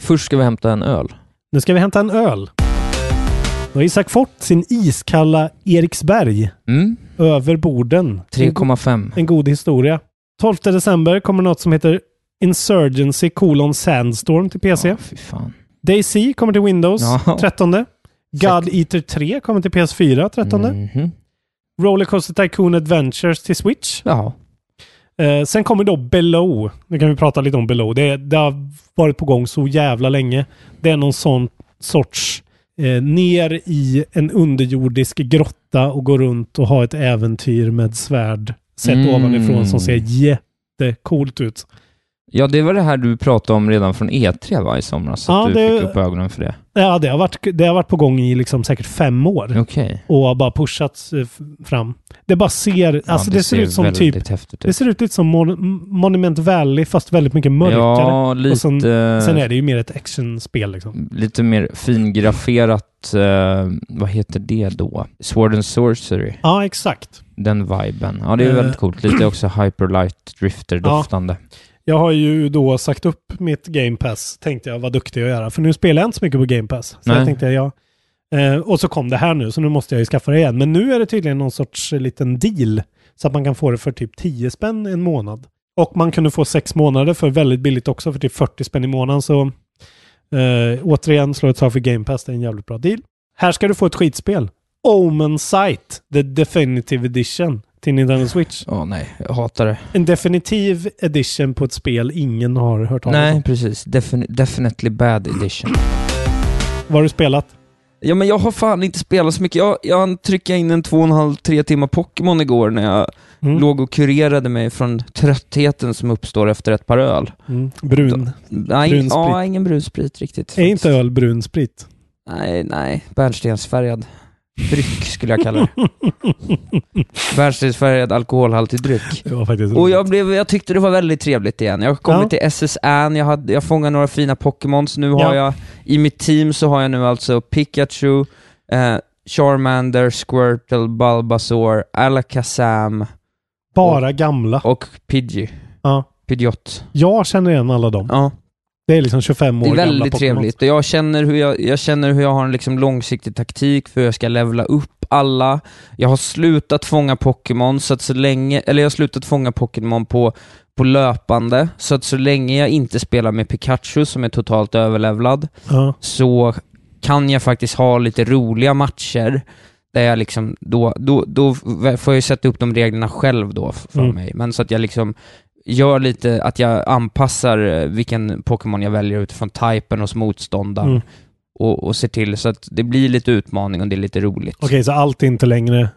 S3: Först ska vi hämta en öl.
S4: Nu ska vi hämta en öl. Nu har Isak fått sin iskalla Eriksberg
S3: Mm,
S4: över borden. En go-
S3: 3,5.
S4: En god historia. 12 december kommer något som heter Insurgency colon Sandstorm till PC.
S3: Ja, fy fan.
S4: DayZ kommer till Windows
S3: Ja.
S4: 13. God Eater 3 kommer till PS4 13.
S3: Mhm.
S4: Rollercoaster Tycoon Adventures till Switch.
S3: Ja.
S4: Eh, sen kommer då Below. Nu kan vi prata lite om Below. Det, det har varit på gång så jävla länge. Det är någon sån sorts eh, ner i en underjordisk grotta och gå runt och ha ett äventyr med svärd sett
S3: Mm.
S4: ovanifrån som ser jättecoolt ut.
S3: ja, det var det här du pratade om redan från E3 va, i somras?
S4: Ja,
S3: att du
S4: det-
S3: fick upp ögonen för det.
S4: Ja, det har varit, det har varit på gång i liksom säkert fem år.
S3: Okej.
S4: och har bara pushats eh, f- fram. Det bara ser,
S3: Ja,
S4: alltså det, ser, ut som typ,
S3: väldigt häftigt
S4: det
S3: ut.
S4: ser ut lite som Mon- Monument Valley fast väldigt mycket mörkare.
S3: Ja, eh, lite,
S4: Och sen- Sen är det ju mer ett actionspel liksom.
S3: lite mer fingrafferat, eh, vad heter det då? Sword and Sorcery,
S4: Ja, exakt.
S3: den viben. Ja, det är
S4: Eh.
S3: väldigt coolt. Lite också hyperlight drifter-doftande.
S4: Jag har ju då sagt upp mitt Game Pass, tänkte jag, vad duktig jag är. För nu spelar jag inte så mycket på Game Pass. Så
S3: Nej.
S4: jag tänkte, ja. Eh, och så kom det här nu, så nu måste jag ju skaffa det igen. Men nu är det tydligen någon sorts eh, liten deal. Så att man kan få det för typ 10 spänn en månad. Och man kunde få sex månader för väldigt billigt också, för typ 40 spänn i månaden. Så eh, återigen, slå ett slag för Game Pass, det är en jävligt bra deal. Här ska du få ett skitspel. Omen Sight, the definitive edition till Nintendo Switch.
S3: Ja, nej, jag hatar det.
S4: En definitiv edition på ett spel ingen har hört talas
S3: Nej,
S4: om.
S3: precis. Defin- definitely bad edition.
S4: Vad har du spelat?
S3: Ja men jag har fan inte spelat så mycket. Jag, jag hann trycka in en två och en halv, tre timmar Pokémon igår när jag
S4: Mm.
S3: låg och kurerade mig från tröttheten som uppstår efter ett par öl.
S4: Mm. Brun.
S3: Nej,
S4: Brun sprit.
S3: ja, ingen brunsprit riktigt.
S4: Är
S3: faktiskt.
S4: inte öl brun sprit?
S3: Nej, nej. Bärnstensfärgad dryck skulle jag kalla det. Bärnstensfärgad alkoholhaltig dryck.
S4: Det var faktiskt
S3: Och
S4: roligt.
S3: jag, blev, jag tyckte det var väldigt trevligt igen. Jag har kommit
S4: Ja.
S3: till SSN, jag, hade, jag fångade några fina Pokémons. Nu har
S4: Ja.
S3: jag, i mitt team så har jag nu alltså Pikachu, eh, Charmander, Squirtle, Bulbasaur, Alakazam
S4: Bara gamla.
S3: och Pidgey.
S4: Ja.
S3: Pidgeot.
S4: Jag känner igen alla dem.
S3: Ja,
S4: Det är liksom 25 år
S3: det är
S4: gamla
S3: väldigt
S4: Pokémon.
S3: trevligt. Och jag, känner hur jag, jag känner hur jag har en liksom långsiktig taktik för hur jag ska levla upp alla. Jag har slutat fånga Pokémon, så att så länge, eller jag har slutat fånga Pokémon på, på löpande, så att så länge jag inte spelar med Pikachu som är totalt överlevlad,
S4: Ja.
S3: så kan jag faktiskt ha lite roliga matcher där jag liksom, då, då, då får jag ju sätta upp de reglerna själv då för
S4: Mm.
S3: mig. Men så att jag liksom gör lite, att jag anpassar eh, vilken Pokémon jag väljer utifrån typen hos motståndaren
S4: Mm.
S3: och, och ser till så att det blir lite utmaning och det är lite roligt.
S4: Okej, så allt är inte längre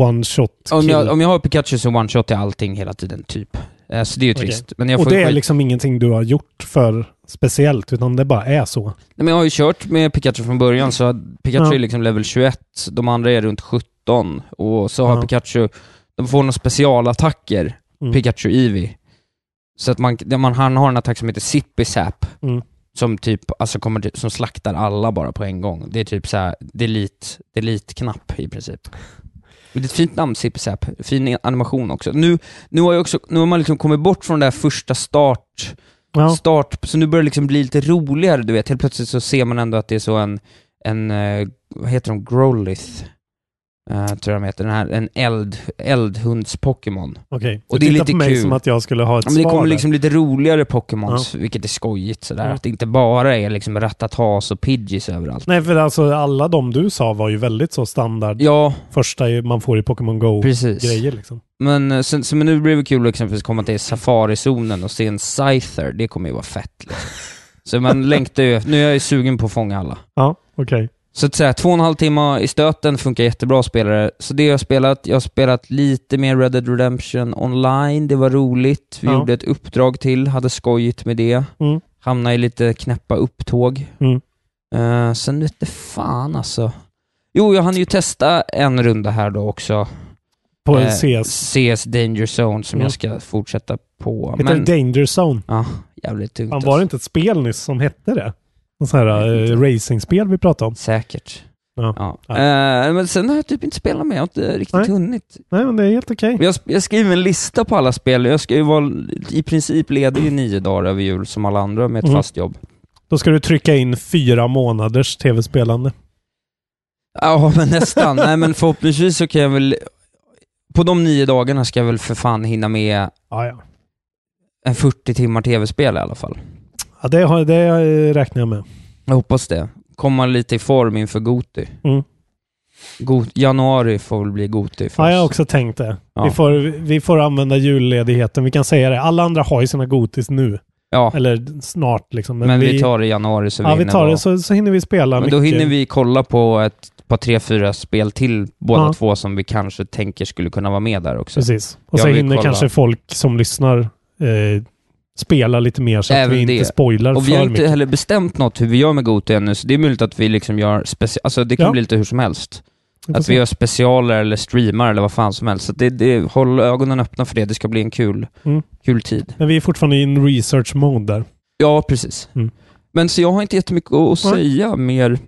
S4: one shot kill.
S3: Om jag, om jag har Pikachu så one-shotar jag allting hela tiden, typ. Eh, Så det är ju
S4: Okej.
S3: trist. Men jag
S4: Och
S3: får ju
S4: det är
S3: skit-
S4: liksom ingenting du har gjort för speciellt, utan det bara är så.
S3: Nej, men jag har ju kört med Pikachu från början, så att Pikachu
S4: Ja.
S3: är liksom level 21, de andra är runt 17, och så har
S4: Ja.
S3: Pikachu, de får några specialattacker,
S4: Mm.
S3: Pikachu Eevee. Så att man, det- man, han har en attack som heter Zippy Zap,
S4: Mm.
S3: som typ, alltså kommer till, som slaktar alla bara på en gång. Det är typ såhär, delete, delete-knapp i princip. Men det är ett fint namn, Zippy Zap. Fin animation också. Nu, nu har jag också, nu har man liksom kommit bort från det här första start,
S4: Ja.
S3: start, så nu börjar det liksom bli lite roligare du vet, helt plötsligt så ser man ändå att det är så en, en eh, vad heter de, Growlithe, eh, tror jag de heter, den här, en eld, eldhunds-Pokémon.
S4: Okej.
S3: Och det
S4: Du
S3: är
S4: tittar
S3: lite
S4: på mig
S3: kul.
S4: som att jag skulle ha ett
S3: Ja, men det
S4: svar
S3: kommer
S4: där.
S3: liksom lite roligare Pokémons, vilket är skojigt sådär,
S4: Ja.
S3: att det inte bara är liksom Ratatas och Pidgeys överallt.
S4: Nej, för alltså alla de du sa var ju väldigt så standard.
S3: Ja,
S4: Första ju- man får i Pokémon Go-grejer
S3: precis.
S4: liksom.
S3: Men, eh, sen, så, men nu blir det kul liksom att exempelvis komma till safarizonen och se en Scyther, det kommer ju vara fett liksom. Så man längtar ju, nu är jag ju sugen på att fånga alla.
S4: Ja, okej.
S3: Så att säga, två och en halv timme i stöten funkar jättebra spelare. Så det har jag spelat. Jag har spelat lite mer Red Dead Redemption online, det var roligt. Vi
S4: Ja.
S3: gjorde ett uppdrag till, hade skojigt med det.
S4: Mm.
S3: Hamnade i lite knäppa upptåg.
S4: Mm.
S3: Eh, sen vet det fan alltså. Jo, jag hann ju testa en runda här då också.
S4: På
S3: Eh,
S4: en CS.
S3: CS Danger Zone som
S4: Mm.
S3: jag ska fortsätta på.
S4: Heter det Danger Zone?
S3: Ja, jävligt tungt.
S4: Fan, var det inte ett spel nyss som hette det? Något sånt här
S3: Jag vet
S4: eh,
S3: inte.
S4: racingspel vi pratade om.
S3: Säkert.
S4: Ja. Ja.
S3: Eh, men sen har jag typ inte spelat med, jag har inte riktigt
S4: Nej.
S3: hunnit.
S4: Nej, men det är helt okej.
S3: Men Jag, jag skriver en lista på alla spel. Jag ska ju vara i princip ledig i nio dagar över jul som alla andra med ett
S4: Mm.
S3: fast jobb.
S4: Då ska du trycka in fyra månaders tv-spelande.
S3: Ja, men nästan. Nej, men förhoppningsvis så kan jag väl... På de nio dagarna ska jag väl för fan hinna med
S4: Ja, ja.
S3: en 40 timmar tv-spel i alla fall.
S4: ja det, har, det eh, räknar jag med.
S3: Jag hoppas det. Komma lite i form inför Goti.
S4: Mm.
S3: Go- januari får väl bli Goti för
S4: Ja, jag har
S3: oss.
S4: också tänkt det.
S3: Ja.
S4: Vi, får, vi får använda julledigheten. Vi kan säga det. Alla andra har ju sina godis nu.
S3: Ja,
S4: Eller snart liksom.
S3: men vi tar det i januari så
S4: Ja, vi
S3: hinner
S4: tar
S3: vara-
S4: det så, så hinner vi spela
S3: Men
S4: mycket.
S3: då hinner vi kolla på ett par tre, fyra spel till båda
S4: Ja.
S3: två som vi kanske tänker skulle kunna vara med där också.
S4: Precis. Och
S3: Typ. Jag
S4: så
S3: vill
S4: hinner
S3: kolla.
S4: kanske folk som lyssnar eh, spela lite mer så att
S3: Även
S4: vi inte
S3: det.
S4: spoilar
S3: Och vi har
S4: för
S3: inte
S4: mycket.
S3: heller bestämt något hur vi gör med Goti ännu, så det är möjligt att vi liksom gör special... Alltså det kan
S4: Ja.
S3: bli lite hur som helst.
S4: Vi får
S3: Att
S4: se.
S3: vi gör specialer eller streamar eller vad fan som helst. Så det, det, håll ögonen öppna för det, det ska bli en kul,
S4: Mm.
S3: kul tid.
S4: Men vi är fortfarande i en research mode där.
S3: Ja, precis.
S4: Mm.
S3: Men så jag har inte jättemycket att
S4: Nej.
S3: säga mer.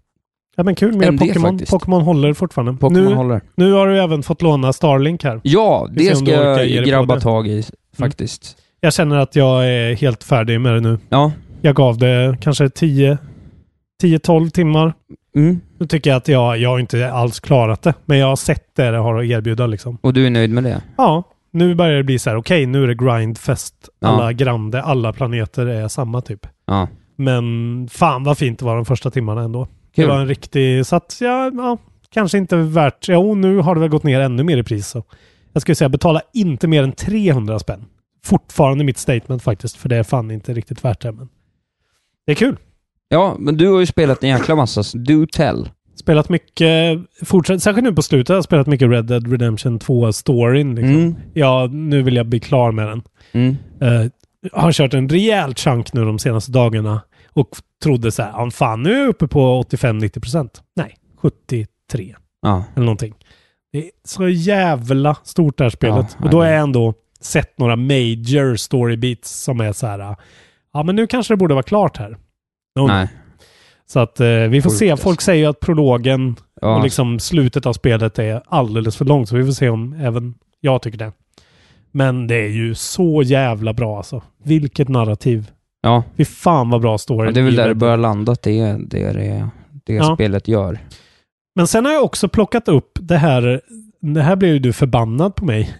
S4: Ja, men kul med
S3: MD
S4: Pokémon.
S3: faktiskt.
S4: Pokémon håller fortfarande.
S3: Pokémon
S4: nu,
S3: håller.
S4: nu har du även fått låna Starlink här.
S3: Ja,
S4: Vi ser
S3: det
S4: om
S3: ska
S4: du orkar ge
S3: jag
S4: dig på
S3: grabba
S4: det. Mm.
S3: tag i faktiskt.
S4: Jag känner att jag är helt färdig med det nu.
S3: Ja.
S4: Jag gav det kanske 10 10-12 timmar.
S3: Mm.
S4: Nu tycker jag att jag, jag har inte alls klarat det. Men jag har sett det det har att erbjuda liksom.
S3: Och du är nöjd med det?
S4: Ja, nu börjar det bli så här. Okej, nu är det grindfest.
S3: Ja.
S4: Alla grande, alla planeter är samma typ.
S3: Ja.
S4: Men fan vad fint det var de första timmarna ändå.
S3: Kul.
S4: Det var en riktig... Så att, ja, ja, kanske inte värt... Jo, nu har det väl gått ner ännu mer i pris. Så. Jag skulle säga betala inte mer än 300 spänn. Fortfarande mitt statement faktiskt, för det är fan inte riktigt värt det. Men det är kul.
S3: Ja, men du har ju spelat en jäkla massa, så do tell.
S4: Spelat mycket, fortsatt, särskilt nu på slutet, har jag spelat mycket Red Dead Redemption 2-storyn. Liksom.
S3: Mm.
S4: Ja, nu vill jag bli klar med den.
S3: Mm.
S4: Eh, har kört en rejäl chunk nu de senaste dagarna och trodde så här, "Ja, fan nu är jag uppe på 85-90 procent. Nej, 73
S3: Ja.
S4: eller någonting. Det är så jävla stort det här spelet.
S3: Ja,
S4: och då har
S3: nej.
S4: jag ändå sett några major story beats som är så här, ja men nu kanske det borde vara klart här. No,
S3: Nej.
S4: Så att eh, vi får
S3: Sjukt,
S4: se.
S3: alltså.
S4: Folk säger ju att prologen
S3: Ja.
S4: och liksom slutet av spelet är alldeles för långt, så vi får se om även jag tycker det. Men det är ju så jävla bra alltså. Vilket narrativ.
S3: ja.
S4: Fy fan vad bra story.
S3: ja. Det är väl där det börjar landa, att det är det, det, det
S4: Ja.
S3: spelet gör.
S4: Men sen har jag också plockat upp det här. Det här blev ju du förbannad på mig.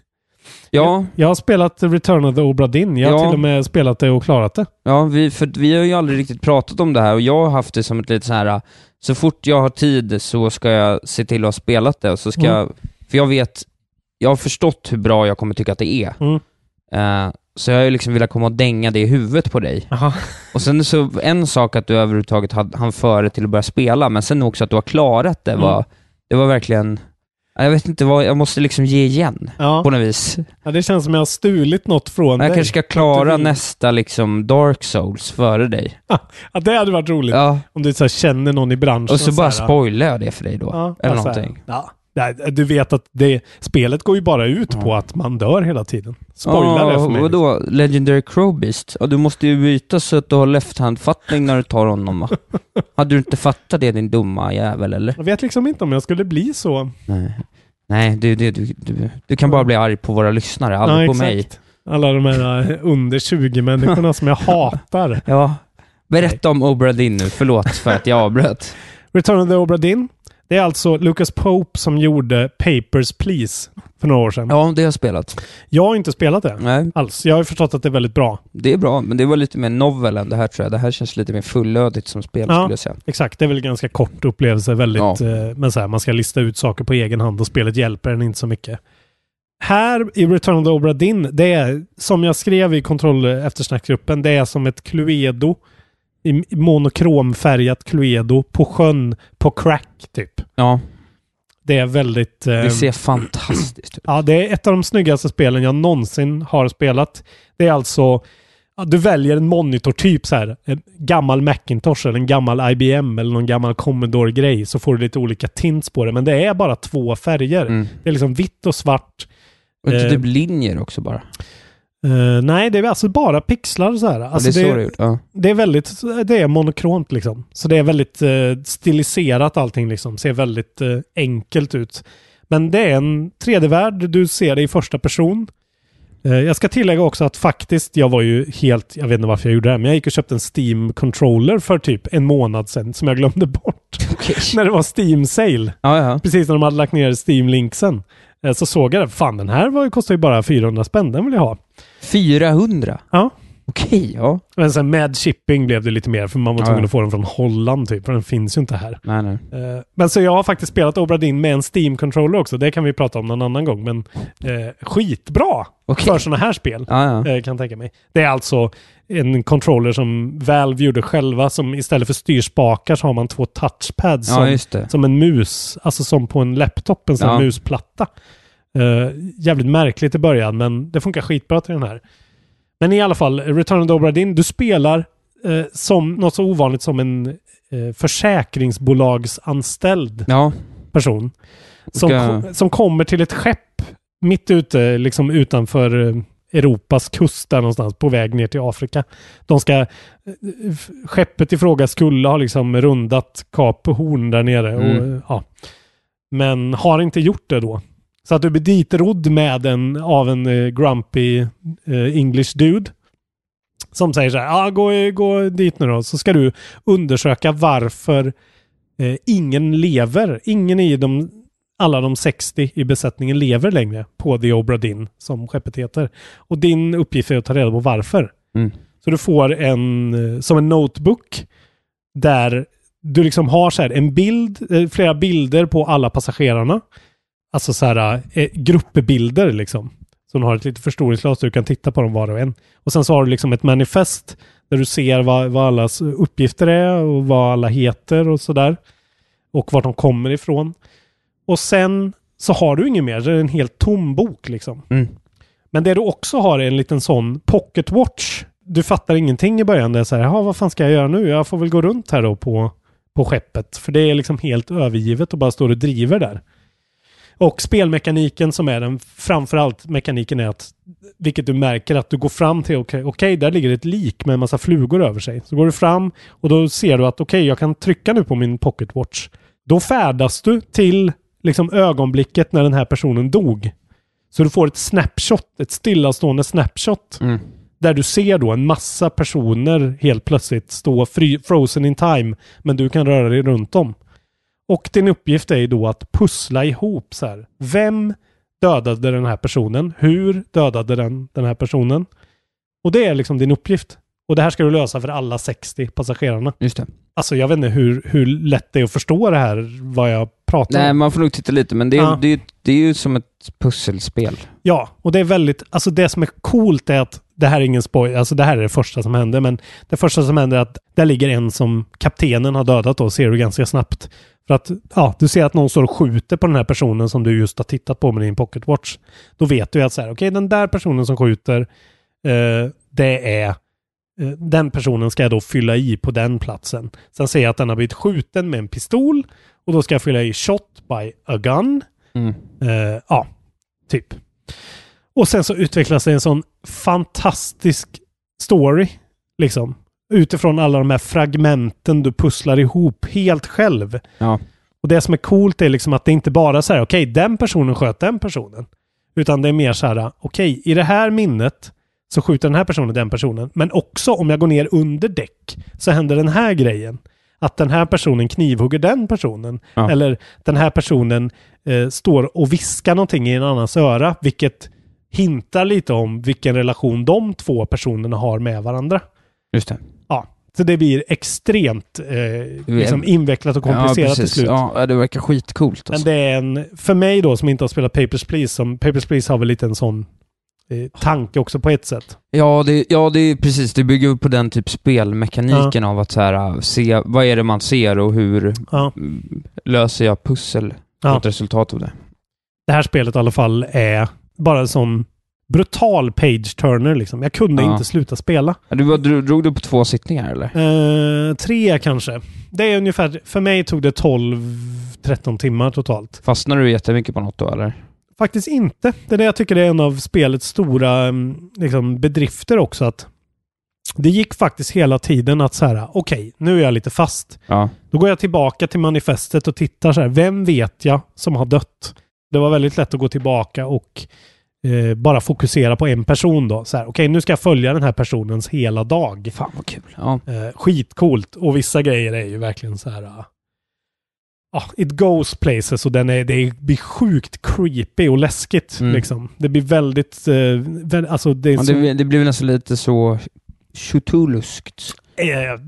S3: Ja,
S4: Jag har spelat Return of the Obra Dinn. Jag har
S3: Ja.
S4: till och med spelat det och klarat det.
S3: Ja, vi, för vi har ju aldrig riktigt pratat om det här och jag har haft det som ett litet så här, så fort jag har tid så ska jag se till att ha spelat det och så ska
S4: Mm.
S3: jag, för jag vet, jag har förstått hur bra jag kommer tycka att det är.
S4: Mm.
S3: Eh, så jag har ju liksom velat komma och dänga det i huvudet på dig. Och sen så, en sak att du överhuvudtaget han före till att börja spela, men sen också att du har klarat
S4: Mm.
S3: det var, det var verkligen, Ja, jag vet inte vad, jag måste liksom ge igen
S4: Ja.
S3: på något vis.
S4: ja, det känns som jag har stulit något från
S3: Men
S4: dig.
S3: jag kanske ska klara
S4: Att du-
S3: nästa liksom Dark Souls före dig.
S4: Ja, det hade varit roligt.
S3: Ja.
S4: Om du så här, känner någon i branschen.
S3: Och så bara
S4: här,
S3: spoilar jag det för dig då.
S4: Ja, alltså.
S3: eller
S4: ja, så här.
S3: någonting.
S4: Ja. Nej, Du vet att det, spelet går ju bara ut på att man dör hela tiden. Spoilar det för mig. liksom.
S3: Vadå? Legendary Crowbeast? Ja, du måste ju byta så att du har left-hand-fattning när du tar honom va? Hade du inte fattat det din dumma jävel eller?
S4: Jag vet liksom inte om jag skulle bli så.
S3: Nej. Nej, du, du, du, du, du kan bara bli arg på våra lyssnare, aldrig på mig.
S4: Alla de här eh, under 20-människorna som jag hatar.
S3: Ja. Berätta om Obra Dinn nu, förlåt för att jag avbröt.
S4: Return of the Obra Dinn. Det är alltså Lucas Pope som gjorde Papers, Please för några år sedan.
S3: Ja, det har jag spelat.
S4: Jag har inte spelat det
S3: Nej,
S4: alls. Jag har ju förstått att det är väldigt bra.
S3: det är bra, men det var lite mer novel än det här tror jag. Det här känns lite mer fullödigt som spel
S4: Ja.
S3: skulle jag säga.
S4: Exakt, det är väl ganska kort upplevelse. Väldigt,
S3: Ja.
S4: eh, men så här, man ska lista ut saker på egen hand och spelet hjälper en inte så mycket. Här i Return of the Obra Dinn, det är som jag skrev i kontroll eftersnackgruppen, det är som ett Cluedo. i- i Monokromfärgat Cluedo på sjön, på crack typ.
S3: Ja,
S4: Det är väldigt... eh,
S3: det ser fantastiskt ut.
S4: Ja, det är ett av de snyggaste spelen jag någonsin har spelat. Det är alltså... ja, Du väljer en monitortyp så här. En gammal Macintosh eller en gammal IBM eller någon gammal Commodore-grej så får du lite olika tints på det. Men det är bara två färger.
S3: Mm.
S4: Det är liksom vitt och svart.
S3: Och inte
S4: Eh,
S3: typ linjer också bara.
S4: Eh, nej, det är alltså bara pixlar så här.
S3: det
S4: Alltså,
S3: är så det är
S4: det,
S3: gjort. Ja.
S4: det är väldigt... Det är monokromt liksom. Så det är väldigt eh, stiliserat allting liksom. Ser väldigt eh, enkelt ut. Men det är en 3D-värld. Du ser det i första person. Eh, Jag ska tillägga också att faktiskt, jag var ju helt, jag vet inte varför jag gjorde det här, men jag gick och köpte en Steam-controller för typ en månad sedan som jag glömde bort. när det var Steam-sale.
S3: Ja, ja.
S4: Precis när de hade lagt ner Steam-linksen. Eh, Så såg jag det, fan den här var, kostar ju bara 400 spänn, den vill jag ha.
S3: 400?
S4: Ja.
S3: Okej, ja.
S4: Men sen med shipping blev det lite mer, för man var
S3: Ja,
S4: tvungen
S3: ja.
S4: att få den från Holland typ, för den finns ju inte här.
S3: Nej, nej.
S4: Eh, Men så jag har faktiskt spelat Obra Dinn med en Steam-controller också. Det kan vi prata om någon annan gång. Men eh, skitbra
S3: Okej.
S4: för sådana här spel.
S3: Ja, ja.
S4: eh, Kan jag tänka mig. Det är alltså en controller som Valve gjorde själva. Som istället för styrspakar så har man två touchpads
S3: Ja,
S4: som,
S3: just det.
S4: som en mus. Alltså som på en laptop, en sån
S3: Ja.
S4: musplatta. Eh, jävligt märkligt i början men det funkar skitbra till den här. Men i alla fall, Return of the Obra Dinn, du spelar eh, som något så ovanligt som en eh, försäkringsbolagsanställd
S3: Ja,
S4: person. Som,
S3: Ska-
S4: ko- som kommer till ett skepp mitt ute, liksom utanför eh, Europas kust där någonstans, på väg ner till Afrika. De ska... eh, f- Skeppet i fråga skulle ha liksom rundat Kap Horn där nere. Och,
S3: Mm.
S4: eh, ja. Men har inte gjort det då. Så att du blir ditrodd med en, av en eh, grumpy eh, English dude. Som säger så här, ah, gå, gå dit nu då. Så ska du undersöka varför eh, ingen lever. Ingen i de, alla de 60 i besättningen lever längre på The Obra Dinn, som skeppet heter. Och din uppgift är att ta reda på varför.
S3: Mm.
S4: Så du får en, eh, som en notebook, där du liksom har så här en bild, eh, flera bilder på alla passagerarna. Alltså så här eh, gruppbilder liksom. Som har ett litet förstoringsglas så du kan titta på dem var och en. Och sen så har du liksom ett manifest där du ser vad, vad allas uppgifter är och vad alla heter och sådär. och vart de kommer ifrån. Och sen så har du inget mer. Det är en helt tom bok liksom.
S3: Mm.
S4: Men det du också har är en liten sån pocket watch. Du fattar ingenting i början. Det är så här, "Jaha, vad fan ska jag göra nu? Jag får väl gå runt här då på, på skeppet. För det är liksom helt övergivet och bara står och driver där. Och spelmekaniken som är den, framförallt mekaniken är att, vilket du märker att du går fram till, okej, okej, där ligger ett lik med en massa flugor över sig. Så går du fram och då ser du att okej, jag kan trycka nu på min pocket watch. Då färdas du till liksom ögonblicket när den här personen dog. Så du får ett snapshot, ett stillastående snapshot.
S3: mm,
S4: Där du ser då en massa personer helt plötsligt stå fri, frozen in time, men du kan röra dig runt dem. Och din uppgift är ju då att pussla ihop så här. Vem dödade den här personen? Hur dödade den den här personen? Och det är liksom din uppgift. Och det här ska du lösa för alla 60 passagerarna.
S3: Just det.
S4: Alltså jag vet inte hur, hur lätt det är att förstå det här, vad jag pratar om.
S3: Nej, man får nog titta lite, men det är,
S4: Ja.
S3: det, är, det är ju som ett pusselspel.
S4: Ja, och det är väldigt, alltså det som är coolt är att det här är ingen spoiler, alltså det här är det första som händer, men det första som händer är att där ligger en som kaptenen har dödat då, ser du ganska snabbt. För att, ja, du ser att någon står och skjuter på den här personen som du just har tittat på med din pocketwatch. Då vet du ju att så här, okej, den där personen som skjuter, eh, det är eh, den personen ska jag då fylla i på den platsen. Sen ser jag att den har blivit skjuten med en pistol och då ska jag fylla i shot by a gun.
S3: Mm,
S4: Eh, ja, typ. Och sen så utvecklas det en sån fantastisk story. Liksom. Utifrån alla de här fragmenten du pusslar ihop helt själv.
S3: Ja.
S4: Och det som är coolt är liksom att det inte bara så här, okej, den personen sköt den personen. Utan det är mer så här, okej, i det här minnet så skjuter den här personen den personen. Men också om jag går ner under däck så händer den här grejen. Att den här personen knivhugger den personen.
S3: Ja.
S4: Eller den här personen eh, står och viskar någonting i en annans öra. Vilket hintar lite om vilken relation de två personerna har med varandra.
S3: Just det.
S4: Ja, så det blir extremt eh, liksom invecklat och
S3: ja,
S4: komplicerat
S3: precis.
S4: till slut.
S3: Ja, det verkar skitcoolt.
S4: Men
S3: Alltså.
S4: det är en, för mig då som inte har spelat Papers, Please, som Papers, Please har väl lite en sån eh, tanke också på ett sätt.
S3: Ja, det, ja, det är precis. Det bygger ju på den typ spelmekaniken av att så här, äh, se vad är det man ser och hur
S4: Ja.
S3: mm, löser jag pussel?
S4: Ja.
S3: Ja. Ett resultat av det.
S4: Det här spelet i alla fall är bara en sån brutal page-turner liksom. Jag kunde
S3: Ja.
S4: inte sluta spela.
S3: Ja, Du, var- drog, drog du på två sittningar eller?
S4: Eh, tre kanske. Det är ungefär, för mig tog det 12-13 timmar totalt.
S3: Fastnade du jättemycket på något då eller?
S4: Faktiskt inte. Det är det jag tycker är en av spelets stora mm, liksom, bedrifter också. att Det gick faktiskt hela tiden att så här, okej, nu är jag lite fast.
S3: Ja.
S4: Då går jag tillbaka till manifestet och tittar så här, vem vet jag som har dött? Det var väldigt lätt att gå tillbaka och eh, bara fokusera på en person då. Så här, okej, nu ska jag följa den här personens hela dag.
S3: Fan vad kul. Ja.
S4: Eh, skitcoolt. Och vissa grejer är ju verkligen så här... ah, ah, it goes places och den är, det blir sjukt creepy och läskigt.
S3: Mm.
S4: Liksom. Det blir väldigt... Eh, väl, alltså det är
S3: Ja,
S4: så,
S3: det, det blev nästan lite så chutuluskt.
S4: eh, ja,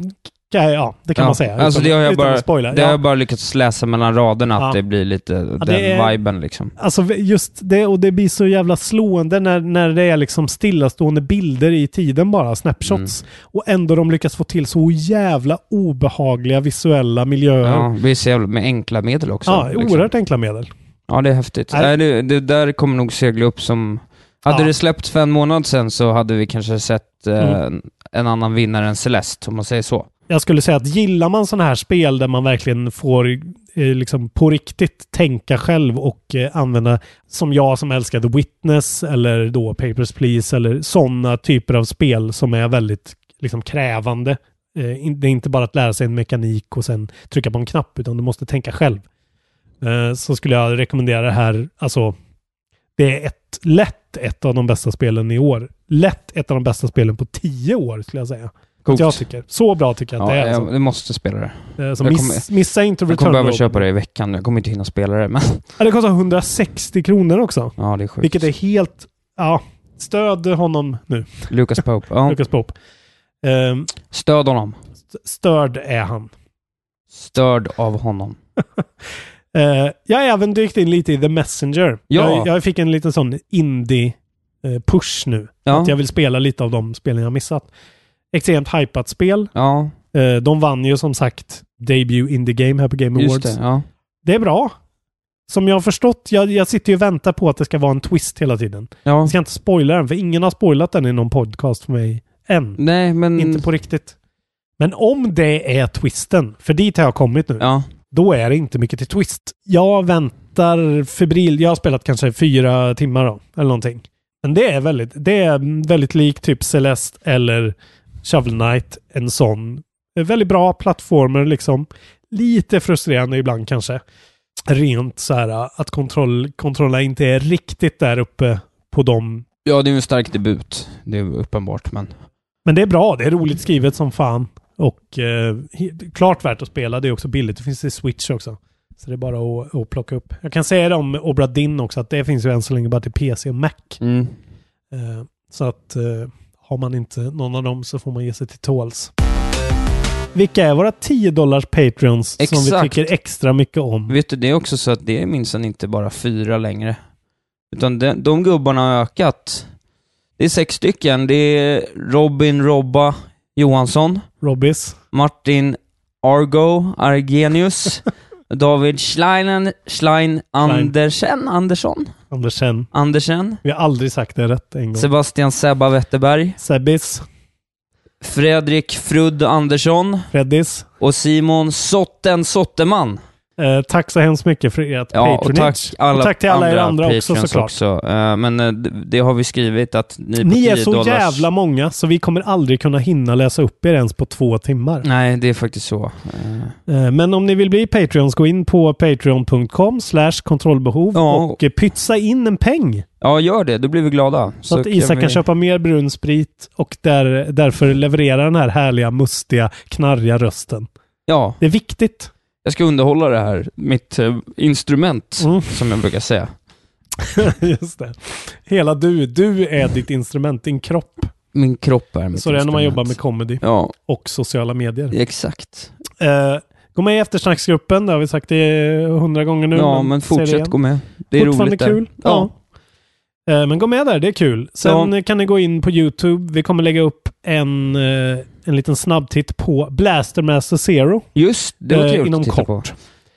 S4: ja, det kan
S3: Ja,
S4: man säga.
S3: Alltså det har jag
S4: utan
S3: bara,
S4: att spoila.
S3: det
S4: Ja.
S3: har jag bara lyckats läsa mellan raderna att
S4: Ja.
S3: det blir lite den
S4: det är-
S3: viben liksom.
S4: Alltså just det, och det blir så jävla slående när, när det är liksom stillastående bilder i tiden bara, snapshots.
S3: Mm.
S4: Och ändå de lyckas få till så jävla obehagliga visuella miljöer. Ja,
S3: Ja, det är så jävla med enkla medel också. liksom.
S4: oerhört enkla medel.
S3: Ja, det är häftigt. Nej.
S4: Nej.
S3: Det, det där kommer nog segla upp som... Hade
S4: Ja.
S3: det släppts för en månad sedan så hade vi kanske sett eh,
S4: Mm.
S3: en- en annan vinnare än Celeste, om man säger så.
S4: jag skulle säga att gillar man sådana här spel där man verkligen får eh, liksom på riktigt tänka själv och eh, använda, som jag som älskar The Witness eller då Papers, Please eller sådana typer av spel som är väldigt liksom krävande. Eh, in- Det är inte bara att lära sig en mekanik och sen trycka på en knapp, utan du måste tänka själv. Eh, Så skulle jag rekommendera det här, alltså det är ett, lätt ett av de bästa spelen i år. Lätt ett av de bästa spelen på tio år skulle jag säga.
S3: Coolt.
S4: Jag tycker. Så bra tycker jag att
S3: ja,
S4: det är.
S3: jag,
S4: Alltså.
S3: jag måste spela det.
S4: Eh, Så
S3: jag
S4: miss, missa inte
S3: Jag kommer
S4: Return
S3: behöva
S4: Road.
S3: köpa det i veckan. Jag kommer inte hinna spela det, men...
S4: Ja, det kostar 160 kronor också.
S3: Ja, det är sjukt.
S4: Vilket är helt... Ja, stöd honom nu,
S3: Lucas Pope. Ja.
S4: Lucas Pope. Ehm,
S3: Stöd honom.
S4: st- störd är han.
S3: Störd av honom.
S4: Eh, jag har även dykt in lite i The Messenger.
S3: Ja.
S4: Jag, jag fick en liten sån indie-push nu.
S3: Ja.
S4: Att jag vill spela lite av de spelen jag missat. Extremt hypat spel.
S3: Ja.
S4: Eh, de vann ju som sagt Debut in the game här på Game Awards.
S3: Just
S4: Det.
S3: det, ja.
S4: är bra. Som jag har förstått, jag, jag sitter ju och väntar på att det ska vara en twist hela tiden.
S3: ja.
S4: Jag ska inte spoila den, för ingen har spoilat den i någon podcast för mig än.
S3: Nej, men...
S4: Inte på riktigt. Men om det är twisten, för dit har jag kommit nu,
S3: Ja.
S4: då är det inte mycket till twist. Jag väntar febril. Jag har spelat kanske fyra timmar då, eller någonting. Men det är väldigt, det är väldigt likt typ Celeste eller Shovel Knight, en sån. Eh, Väldigt bra plattformer liksom. Lite frustrerande ibland kanske. Rent så här eh, att kontroll, kontrollerna inte är riktigt där uppe på dem.
S3: ja, det är ju en stark debut. Det är uppenbart, men...
S4: Men det är bra, det är roligt skrivet som fan. Och eh, he- klart värt att spela, det är också billigt. Det finns i Switch också. Så det är bara att, att plocka upp. Jag kan säga det om Obra Dinn också, att det finns ju än så länge bara till PC och Mac.
S3: Mm.
S4: Eh, så att eh, har man inte någon av dem så får man ge sig till tåls. Vilka är våra 10 dollars Patreons som vi
S3: Exakt.
S4: tycker extra mycket om?
S3: Vet du, det är också så att det är minsann inte bara fyra längre. Utan de, de gubbarna har ökat. Det är sex stycken. Det är Robin Robba Johansson,
S4: Robbis,
S3: Martin Argo Argenius, David Schleinen, Schlein Andersen, Andersson,
S4: Andersen.
S3: Andersen,
S4: Vi har aldrig sagt det rätt en gång.
S3: Sebastian Sebba Wetterberg,
S4: Sebbis,
S3: Fredrik Frudd Andersson
S4: Freddis.
S3: och Simon Sotten Sotteman.
S4: Eh, tack så hemskt mycket för ert
S3: Ja, och tack,
S4: patronage.
S3: alla,
S4: och tack till alla er
S3: andra
S4: andra också
S3: Patreons
S4: såklart.
S3: också. Eh, men eh, d- det har vi skrivit att ni på
S4: Ni är
S3: 10
S4: så
S3: dollars...
S4: jävla många så vi kommer aldrig kunna hinna läsa upp er ens på två timmar.
S3: Nej, det är faktiskt så. Eh,
S4: Eh, Men om ni vill bli Patreons, gå in på patreon.com slash kontrollbehov
S3: Ja.
S4: och eh, pytsa in en peng.
S3: ja, gör det. Då blir vi glada.
S4: Så, att Isak kan,
S3: vi-
S4: köpa mer brun sprit och där, därför leverera den här härliga, mustiga, knarriga rösten.
S3: Ja,
S4: Det är viktigt.
S3: jag ska underhålla det här. Mitt eh, instrument,
S4: Mm.
S3: som jag brukar säga.
S4: Just det. Hela du, du är ditt instrument, din kropp.
S3: Min kropp är mitt
S4: Så det är när man
S3: instrument.
S4: jobbar med comedy
S3: Ja,
S4: och sociala medier.
S3: exakt.
S4: Eh, gå med i eftersnacksgruppen, det har vi sagt det hundra gånger nu.
S3: ja, men
S4: säg det igen.
S3: fortsätt gå med. Det är
S4: Fortfarande
S3: roligt där.
S4: kul. Ja. Eh, Men gå med där, det är kul. Sen
S3: Ja.
S4: eh, kan ni gå in på YouTube. Vi kommer lägga upp en, eh, en liten snabbtitt på Blastermaster Zero.
S3: Just det,
S4: Eh,
S3: var trevligt
S4: inom
S3: att titta
S4: kort.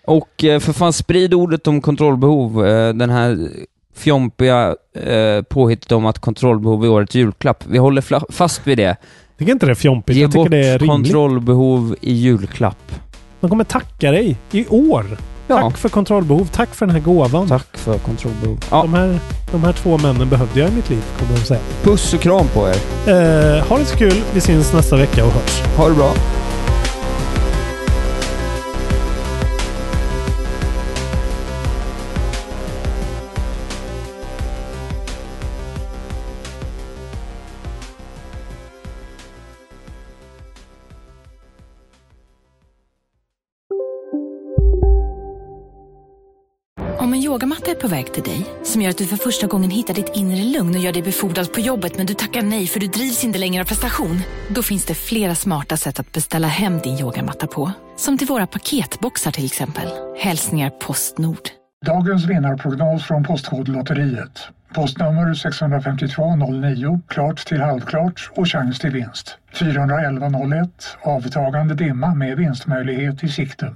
S3: på. Och eh, för fan, sprid ordet om kontrollbehov. Eh, Den här fjompiga eh, påhittet om att kontrollbehov är årets julklapp. Vi håller fla- fast vid det.
S4: Jag tycker inte det är fjompigt.
S3: Ge
S4: Jag tycker
S3: bort
S4: det är rimligt.
S3: kontrollbehov i julklapp.
S4: De kommer tacka dig i år.
S3: Ja,
S4: Tack för kontrollbehov. Tack för den här gåvan.
S3: tack för kontrollbehov. Ja,
S4: De, här, de här två männen behövde jag i mitt liv, kommer de säga.
S3: puss och kram på er.
S4: Eh, ha det så kul. Vi syns nästa vecka och hörs.
S3: Ha det bra.
S2: Om en yogamatta är på väg till dig, som gör att du för första gången hittar ditt inre lugn och gör dig befordrad på jobbet men du tackar nej för du drivs inte längre av prestation. Då finns det flera smarta sätt att beställa hem din yogamatta på. Som till våra paketboxar till exempel. Hälsningar Postnord.
S6: Dagens vinnarprognos från Postkodlotteriet. Postnummer 65209, klart till halvklart och chans till vinst. 41101, avtagande dimma med vinstmöjlighet i sikte.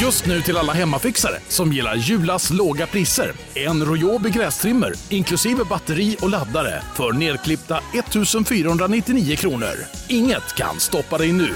S7: Just nu till alla hemmafixare som gillar Julas låga priser. En royobi grästrimmer inklusive batteri och laddare för nedklippta 1499 kronor. Inget kan stoppa dig nu.